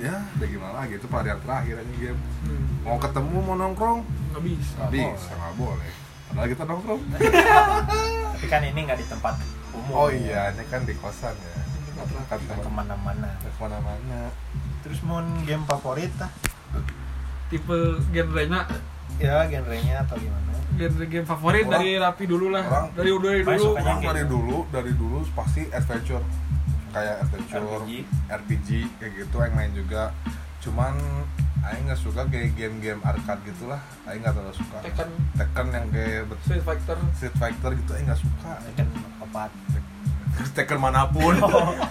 S1: ya udah gimana lagi itu pelarian terakhir aja game
S2: Hmm,
S1: mau ketemu mau nongkrong
S2: nggak bisa
S1: nggak bisa nggak boleh padahal kita nongkrong
S3: tapi kan ini nggak di tempat umum
S1: oh iya ini kan di kosan ya kan
S3: Nggak
S1: teman
S3: kemana-mana
S1: kemana-mana
S3: terus mau game favorit ah
S2: tipe genrenya
S3: ya genrenya atau gimana
S2: genre game favorit
S1: Orang-
S2: dari rapi dulu lah
S1: orang-
S2: dari dari
S3: Baik,
S2: dulu
S3: sukanya
S1: Orang
S3: kayak
S1: dari
S3: gitu.
S1: dulu dari dulu pasti adventure kayak adventure
S3: RPG.
S1: RPG, kayak gitu yang main juga cuman Aing nggak suka kayak game-game arcade gitulah Aing nggak terlalu suka
S2: Tekken.
S1: Tekken yang kayak bet-
S2: Street Fighter
S1: Street Fighter gitu Aing nggak suka
S3: Tekken kan empat
S1: Tekken manapun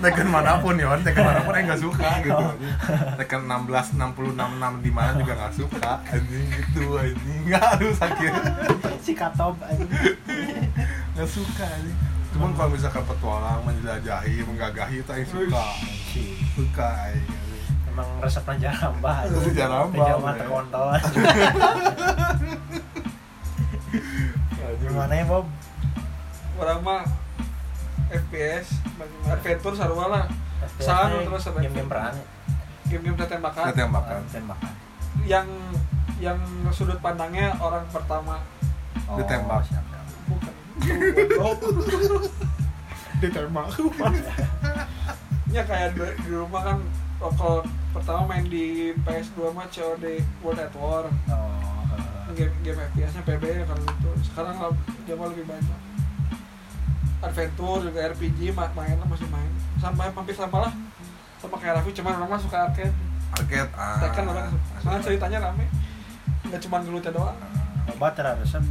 S1: Tekken manapun ya Tekken manapun Aing nggak suka gitu Tekken 16, 66, 6 di mana juga nggak suka anjing gitu anjing nggak harus sakit
S3: si katob aja
S1: nggak suka nih cuman kalau misalkan petualang menjelajahi menggagahi itu yang suka suka aing.
S3: emang resepnya jarang banget
S1: Resep jarang banget.
S3: Tidak mata kontol gimana ya Bob
S2: orang mah FPS adventure sarua lah Saan
S3: FPS-nya
S2: terus apa?
S3: game-game perang
S2: game-game tembakan
S1: Kita tembakan
S3: tembakan
S2: yang yang sudut pandangnya orang pertama
S3: Oh,
S1: Ditembak.
S3: siap-siap.
S2: bukan ditembak ya kayak di, di rumah kan lokal pertama main di PS2 mah COD World at War
S3: Oh, eh,
S2: game game FPS nya PB kan itu sekarang lab- jauh lebih banyak adventure juga RPG ma- main lah masih main sampai hampir sama lah sama kayak Raffi cuman orang mah suka arcade
S1: arcade ah
S2: Tekken orang suka soalnya ceritanya rame nggak cuma gelutnya doang
S3: obat tidak Oh, resep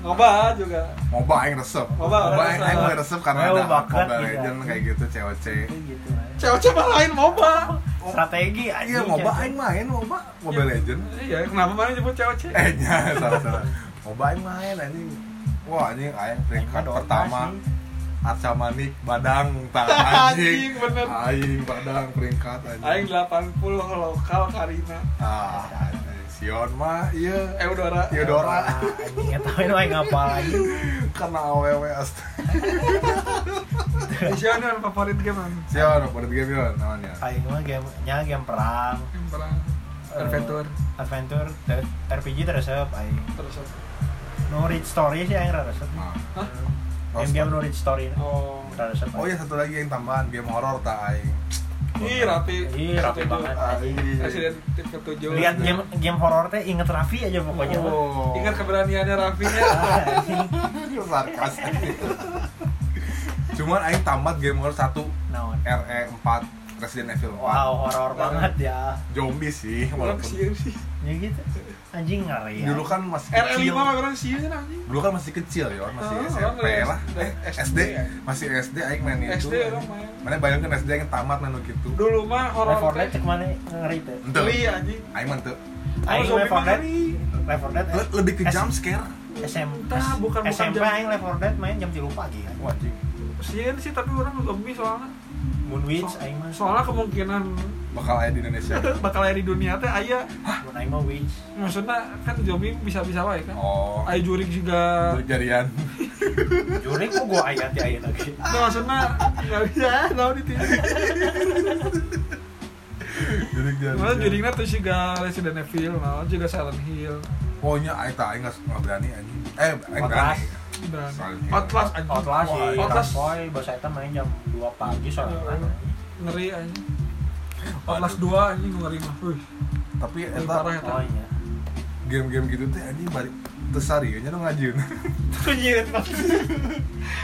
S2: ngobat juga
S1: moba aing resep
S2: Moba orang
S1: moba aing
S2: resep.
S1: aing mulai resep karena
S3: Ayo,
S1: ada
S3: bakat,
S1: moba
S3: iya.
S1: legend kayak gitu COC
S3: Itu gitu aja.
S2: cewek coba lain moba
S1: Oh.
S3: strategi aja
S1: iya moba aing main moba moba legend
S2: iya kenapa mana nyebut cewek cewek
S1: eh nya salah salah moba aing main anjing wah anjing aing peringkat pertama Arca Manik, Badang, tah, anjing,
S2: Anjing, bener.
S1: Aing, Badang, peringkat anjing.
S2: Aing 80 lokal Karina Eh,
S1: Ah, anjing. Sion mah, iya.
S2: Eudora
S1: Theodora
S3: Ah, anjing tahu itu aing ngapa lagi
S1: karena aww astaga.
S2: Asian yang favorit game kan
S1: Sion, apa game Sion namanya?
S3: aing mah game nya game perang
S2: Yang perang adventure
S3: eh, adventure ter- RPG terus aing
S2: terus apa?
S3: no read story sih aing rada resep
S1: Nah.
S2: Hah?
S3: game game no read story
S2: oh
S3: rada resep
S1: Ah, Oh iya satu lagi yang tambahan game horor tak aing.
S2: Ih, rapi.
S3: Ih, rapi Iya, banget.
S1: Aing.
S2: Presiden tim ketujuh.
S3: lihat game game horor teh inget Raffi aja pokoknya mah.
S1: Oh.
S2: Ingat kan? keberaniannya Raffi nya.
S1: sarkas. Cuman aing tamat game horor satu
S3: Naon.
S1: RE 4 Resident Evil 4.
S3: wow horor banget ya
S1: Zombie sih
S2: Orang
S1: walaupun
S2: siun sih.
S3: ya gitu anjing ngeri ya
S1: dulu kan masih
S2: RL5
S1: kecil.
S2: mah orang siun anjing.
S1: Dulu kan masih kecil ya, masih
S2: Oh,
S1: SMP
S2: orang
S1: lah.
S2: SD.
S1: Eh, SD, masih SD aing main itu.
S2: SD orang main.
S1: Mana bayangkan SD yang tamat main gitu.
S2: Dulu mah
S3: Left
S2: horor
S3: 4 Dead cek mana ngeri teh
S1: Ente.
S2: Iya. Beli anjing.
S1: Aing mah teu.
S2: Oh,
S3: Aing
S2: zombie
S3: Left
S2: mah
S3: 4 Dead
S2: ngeri.
S3: Left 4 Dead
S1: Le- lebih ke
S3: S-
S1: jump scare
S3: SM,
S2: Tah, bukan- bukan
S3: SMP
S2: jam-
S3: aing Left 4 Dead main jam 3 pagi kan.
S1: Wah, anjing.
S2: Sieun sih tapi orang lebih soalnya
S3: Moonwitch
S2: so-
S3: aing mah.
S2: soalnya kemungkinan
S1: bakal ada di Indonesia.
S2: bakal aya di dunia teh aya
S3: Mun aing mah Witch.
S2: maksudnya kan zombie bisa-bisa wae kan.
S1: Oh,
S2: Aya jurik juga.
S1: itu jarian.
S3: Juri kok gua ayat di ayat lagi.
S2: Itu Nah, maksudnya nggak bisa tahu di TV.
S1: Jurik jarian.
S2: Malah juriknya tuh juga Resident Evil, nah juga Silent Hill.
S1: Pokoknya aing tah aing nggak- nggak berani anjing. Eh, aing
S3: Outlast.
S1: berani.
S2: Berani.
S1: Silent Hill.
S2: Outlast iya. anjing.
S1: Wah,
S3: Outlast
S2: Outlast.
S3: sih.
S2: Iya.
S3: Outlast. Boy, bahasa eta main jam 2 pagi soalnya. kan.
S2: Ngeri anjing. Outlast 2 anjing ngeri mah. Wih,
S1: Tapi
S2: ngeri
S1: eta
S2: parah eta.
S3: Oh iya.
S1: game-game gitu teh anjing bari teu sarieu nya nu ngajieun.
S2: Nyieun mah.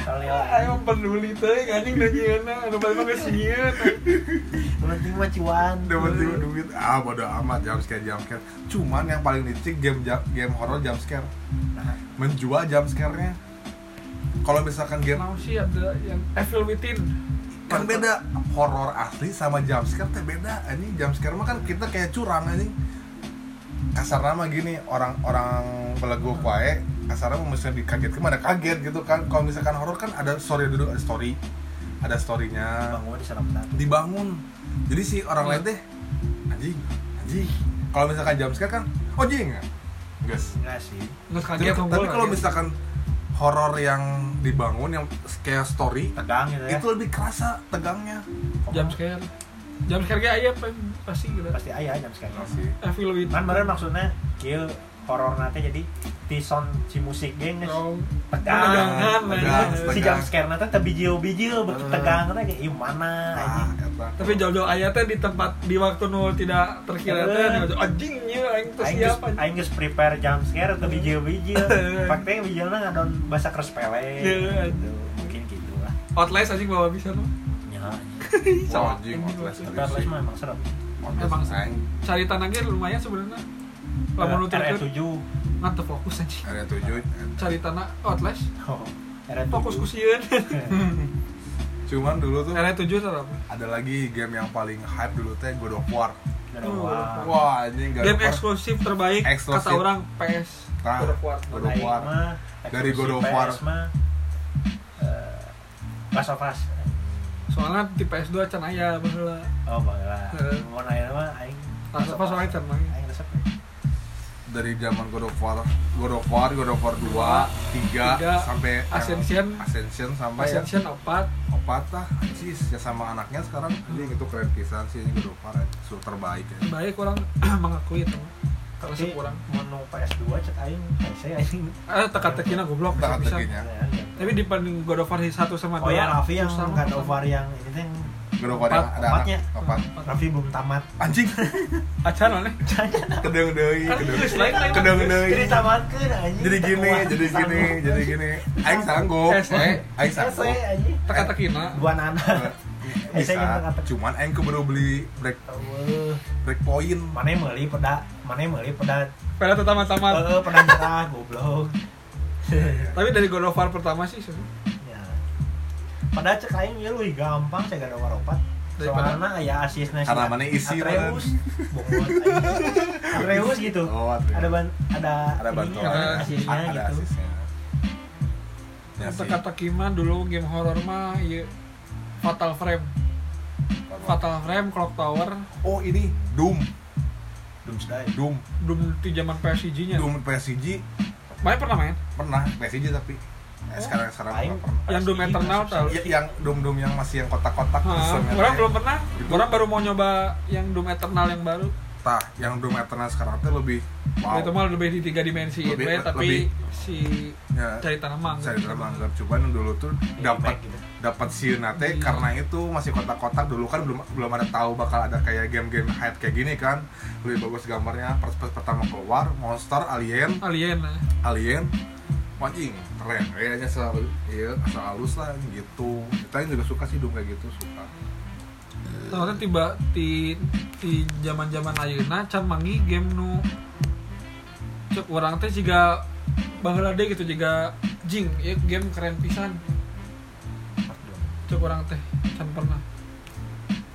S3: Kali
S2: Ayo peduli teh anjing da nyieunna, anu bari mah geus nyieun.
S3: penting mah cuan.
S1: Udah penting duit. Ah, bodo amat jump scare jump scare. Cuman yang paling dicek game ja- game horor jump scare.
S3: Nah,
S1: Menjual jump scare-nya. Kalau misalkan
S3: Iya.
S1: game
S2: Mau sih ada yang Evil Within.
S1: kan beda horor asli sama jump scare teh beda anjing jump scare mah kan kita kayak curang anjing kasar nama gini orang-orang beleguk wae kasarnya mau misalnya dikagetkan ada kaget gitu kan kalau misalkan horor kan ada story dulu ada story ada storynya
S3: Bang gua diserap tadi.
S1: dibangun jadi si orang lain teh anjing anjing kalau misalkan jump scare kan oh jing guys
S3: Enggak sih.
S2: Nggak kaget
S1: tapi,
S2: unggul,
S1: tapi kalau
S2: kaget.
S1: misalkan horor yang dibangun yang kayak story
S3: Tegang gitu ya.
S1: itu lebih kerasa tegangnya
S2: jam scare. Jam scare ge aya pa- pasti gitu.
S3: pasti ayah jam sekarang.
S2: Evil Within.
S3: kan meren maksudnya kill horor nanti jadi di sound si musik geng guys
S2: Oh.
S3: tegang
S2: Tegangan,
S1: tegang,
S2: anjing.
S3: si jam scare nanti tebijil bijil
S1: Hmm.
S3: tegang nanti kayak "Ih, mana
S1: Ah,
S3: anjing
S1: eta.
S2: Tapi jauh-jauh ayah teh di tempat di waktu nu tidak terkira teh
S3: Bener.
S2: jauh-jauh, anjingnya aing teh
S3: Eh.
S2: siap
S3: Aing geus-
S2: iya, anjing.
S3: aing geus prepare jam scare atau bijil bijil faktanya bijilnya ngadon bahasa keres pele
S2: Iya.
S3: gitu mungkin gitu lah
S2: Outlast anjing bawa bisa mah.
S3: ya
S1: Wah,
S2: Sama
S1: anjing,
S2: anjing.
S1: Outlast
S3: tapi
S1: tadi
S3: Atlas
S1: sih.
S3: mah emang serem
S1: Outlast,
S2: Emang
S1: aing.
S2: Cari tanah ge lumayan sebenarnya. Lamun nu
S3: Eh, R 7
S2: Mantep fokus anjing.
S1: Area 7
S2: Cari tanah Outlast.
S3: Oh, R 7
S2: Fokus ku sieun.
S3: Eh.
S1: Cuman dulu tuh
S2: Area 7 tuh apa?
S1: ada lagi game yang paling hype dulu teh God of War.
S3: Wah,
S1: Wah, anjing God
S2: Game
S1: of War.
S2: eksklusif terbaik
S1: Eksklusif.
S2: kata orang PS
S1: Nah,
S2: God of War.
S1: God of War. Dari God of War.
S3: mah eh, Last of Us
S2: Soalnya di PS2 can aya baheula.
S3: Oh, baiklah.
S2: Heeh.
S3: Mau nanya mah aing.
S2: Last of Us wae can main.
S3: Aing resep.
S1: Dari zaman God of War, God of War, God of War 2, 3
S2: Tiga.
S1: sampai yang
S2: Ascension.
S1: Ascension sampai
S2: Ascension 4
S1: ya Opatah, anjing ya sama anaknya sekarang anjing itu keren pisan sih ini God of War anjing. Su- terbaik ya.
S2: baik kurang mengakui itu kalau
S3: Tapi Ya,
S2: kurang
S3: menu PS2 cet aing PC aing.
S2: eh teka-tekina goblok
S1: Teka
S2: bisa-bisa.
S1: tekinya.
S2: tapi dibanding God of War 1 sama
S3: Oh ya Raffi yang
S2: susah
S3: God
S2: banget.
S3: of War yang ini teh yang
S1: God of War
S3: Empat,
S1: yang ada
S3: empatnya.
S1: anak opat.
S3: Raffi belum tamat.
S1: Anjing,
S2: acan
S1: Eh.
S2: mana
S1: kedeung deui,
S2: Kan
S1: kedeung.
S2: geus lain, lain.
S1: Kedeung deui.
S3: Jadi tamatkeun anjing.
S1: jadi gini,
S3: Tengah.
S1: jadi gini,
S3: Sanggup.
S1: jadi gini. Aing sanggup,
S2: Ese.
S1: eh, aing
S3: Ese
S1: sanggup. Eh.
S3: anjing.
S2: teka-tekina
S3: Dua anak. Ese yang
S1: Bisa,
S3: kata-
S1: cuman aing keburu beli break
S3: Eueuh.
S1: break point.
S3: Mana yang meuli peda, mana yang meuli peda.
S2: pada pertama sama
S3: Heeh, peda nyerah goblok.
S2: tapi dari God of War pertama sih sebenarnya.
S3: Ya. Padahal cek aing ieu leuwih ya gampang cek ada waropat.
S2: Daripada-
S3: Soalna aya asisna si
S1: Karena mana isi,
S3: Atreus. Bongot. anjing. Atreus gitu.
S1: Oh, Atreus.
S3: Ada ban ada
S1: Ada
S3: ininya,
S1: bantuan,
S2: ada
S1: ya.
S3: asisnya
S1: A- ada
S3: gitu.
S1: asisnya. Ya sih,
S2: teka-tekina dulu game horror mah ieu Fatal Frame
S1: apa-apa.
S2: Fatal Frame Clock Tower
S1: Oh ini Doom,
S3: Belum sedai.
S1: Doom,
S2: belum di zaman PSG nya
S1: Doom PSG
S2: main pernah main
S1: pernah PSG tapi eh, sekarang sekarang
S3: Aing
S1: nggak pernah.
S2: Yang Doom
S3: pasti
S2: Eternal
S3: masuk
S2: tau.
S3: sih.
S1: Ya, yang Doom Doom yang masih yang kotak-kotak
S2: Hah,
S1: terus yang-
S2: Ah, orang belum pernah
S1: Itu.
S2: orang baru mau nyoba yang Doom Eternal yang baru
S1: Tah, yang Doom Eternal sekarang tuh lebih wow.
S2: itu mah lebih di tiga dimensi
S1: Lebih-
S2: we, tapi
S1: lebih-
S2: si
S1: Ya,
S2: cari tanah mangga
S1: saya dalam anggap cobaan dulu tuh dapat
S3: gitu.
S1: dapat siuna teh
S2: Iya.
S1: karena itu masih kotak-kotak dulu kan belum belum ada tahu bakal ada kayak game-game hype kayak gini kan lebih bagus gambarnya pas pas pertama keluar monster alien
S2: alien eh. lah
S1: alien anjing keren kayaknya selalu iya asal halus lah gitu kita juga suka sih dong kayak gitu suka
S2: soalnya kan tiba di di zaman zaman ayeuna can mangi game nu cek orang teh juga baheula deh gitu juga jing ya game keren pisan cek orang teh can pernah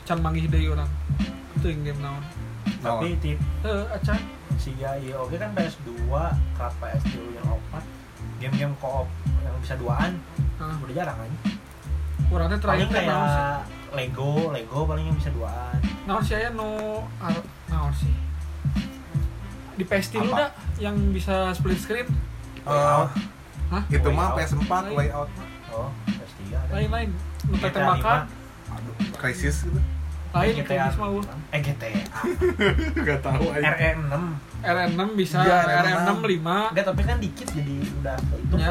S2: can mangi deui orang itu yang game naon
S1: Oh.
S3: Tapi
S1: Naon?
S3: tip
S2: eh acan
S3: si ya ieu oge kan PS2 ke PS3 yang opat game-game co-op yang bisa duaan
S2: Hah,
S3: udah jarang kan
S2: kurangnya
S3: paling
S2: terakhir kan naon sih
S3: kayak Lego Lego paling yang bisa duaan
S2: naon sih aya nu ar- naon sih di PS3 lu
S1: Apa?
S2: dah yang bisa split screen
S1: Eh,
S2: Hah?
S1: itu mah
S3: Way out.
S1: PS4 way out mah.
S3: oh PS3 ada
S2: lain-lain nu
S3: GTA
S2: tembakan
S1: aduh krisis gitu
S2: lain gitu
S3: GTA.
S2: teknis mah ul.
S3: eh GTA
S1: nggak tahu aja
S3: RE6
S2: RM6 bisa
S1: Iya,
S2: RM6
S1: RM6.
S2: 5
S3: E enggak tapi kan dikit jadi udah itu
S2: Ya.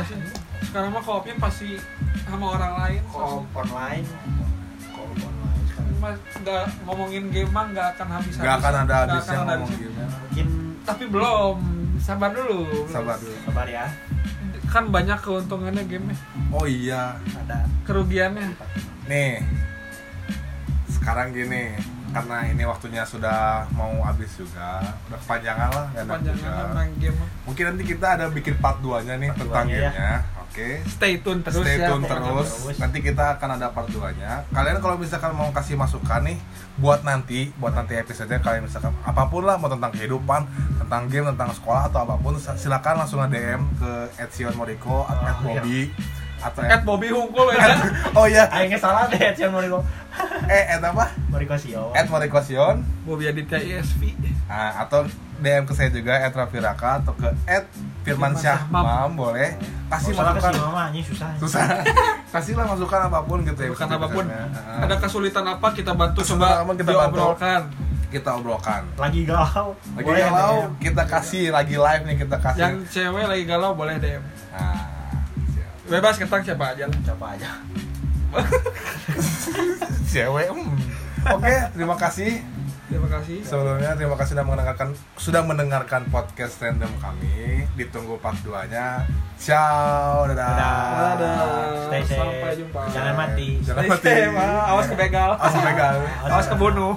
S2: sekarang mah koopnya pasti sama orang lain
S3: co-op online co-op online sekarang
S2: Mas, nggak ngomongin game mah nggak akan habis
S1: nggak akan ada habisnya ngomong gitu
S3: mungkin
S2: tapi belum sabar dulu belum.
S1: sabar dulu
S3: sabar ya
S2: kan banyak keuntungannya game
S1: oh iya
S3: ada
S2: kerugiannya
S1: nih sekarang gini karena ini waktunya sudah mau habis juga udah kepanjangan lah nggak enak
S2: panjangnya
S1: juga
S2: kan main game mah.
S1: mungkin nanti kita ada bikin part 2 nya nih
S3: Part
S1: tentang
S3: 2-nya ya.
S1: gamenya oke
S2: stay tune terus
S1: stay
S2: ya
S1: tune
S3: pokoknya
S1: terus.
S3: terus.
S1: nanti kita akan ada part 2 nya kalian kalau misalkan mau kasih masukan nih buat nanti buat nanti episode kalian misalkan apapun lah mau tentang kehidupan tentang game tentang sekolah atau apapun silakan langsung DM ke Etsion Moriko atau
S3: Ah,
S1: Bobby atau
S2: at Bobby Hungkul ya
S1: oh iya
S3: Ayo Ah, salah deh, Cian Moriko
S1: eh at apa
S3: Moriko Sio
S1: at Moriko Sion
S2: Bobby Aditya ISV
S1: Nah, atau DM ke saya juga at Raffi Raka atau ke at Firman Syah
S2: Mam.
S1: Mam boleh kasih
S3: Salah ke
S1: masukan
S3: si Mama, anjing susah ya.
S1: susah kasihlah masukan apapun gitu ya
S2: bukan
S1: bisa
S2: apapun
S1: dipesannya. Ah,
S2: ada kesulitan apa kita bantu
S1: Kesulitan
S2: coba
S1: apa kita bantu.
S2: diobrolkan
S1: kita obrolkan
S3: Lagi galau
S1: lagi
S3: Boleh,
S1: galau
S3: DM.
S1: kita kasih lagi live nih kita kasih
S2: yang cewek lagi galau boleh DM
S1: Nah, siap.
S2: bebas ketang siapa aja lah
S3: Coba aja
S1: cewek hmm. oke terima kasih
S2: terima kasih
S1: sebelumnya terima kasih sudah mendengarkan sudah mendengarkan podcast random kami ditunggu part 2 nya ciao dadah,
S3: Dadah. Stay safe.
S2: sampai jumpa
S3: Jangan mati.
S1: jangan
S2: Stay
S1: mati
S2: safe, ah. Iya, awas kebegal
S1: awas kebegal
S2: awas kebunuh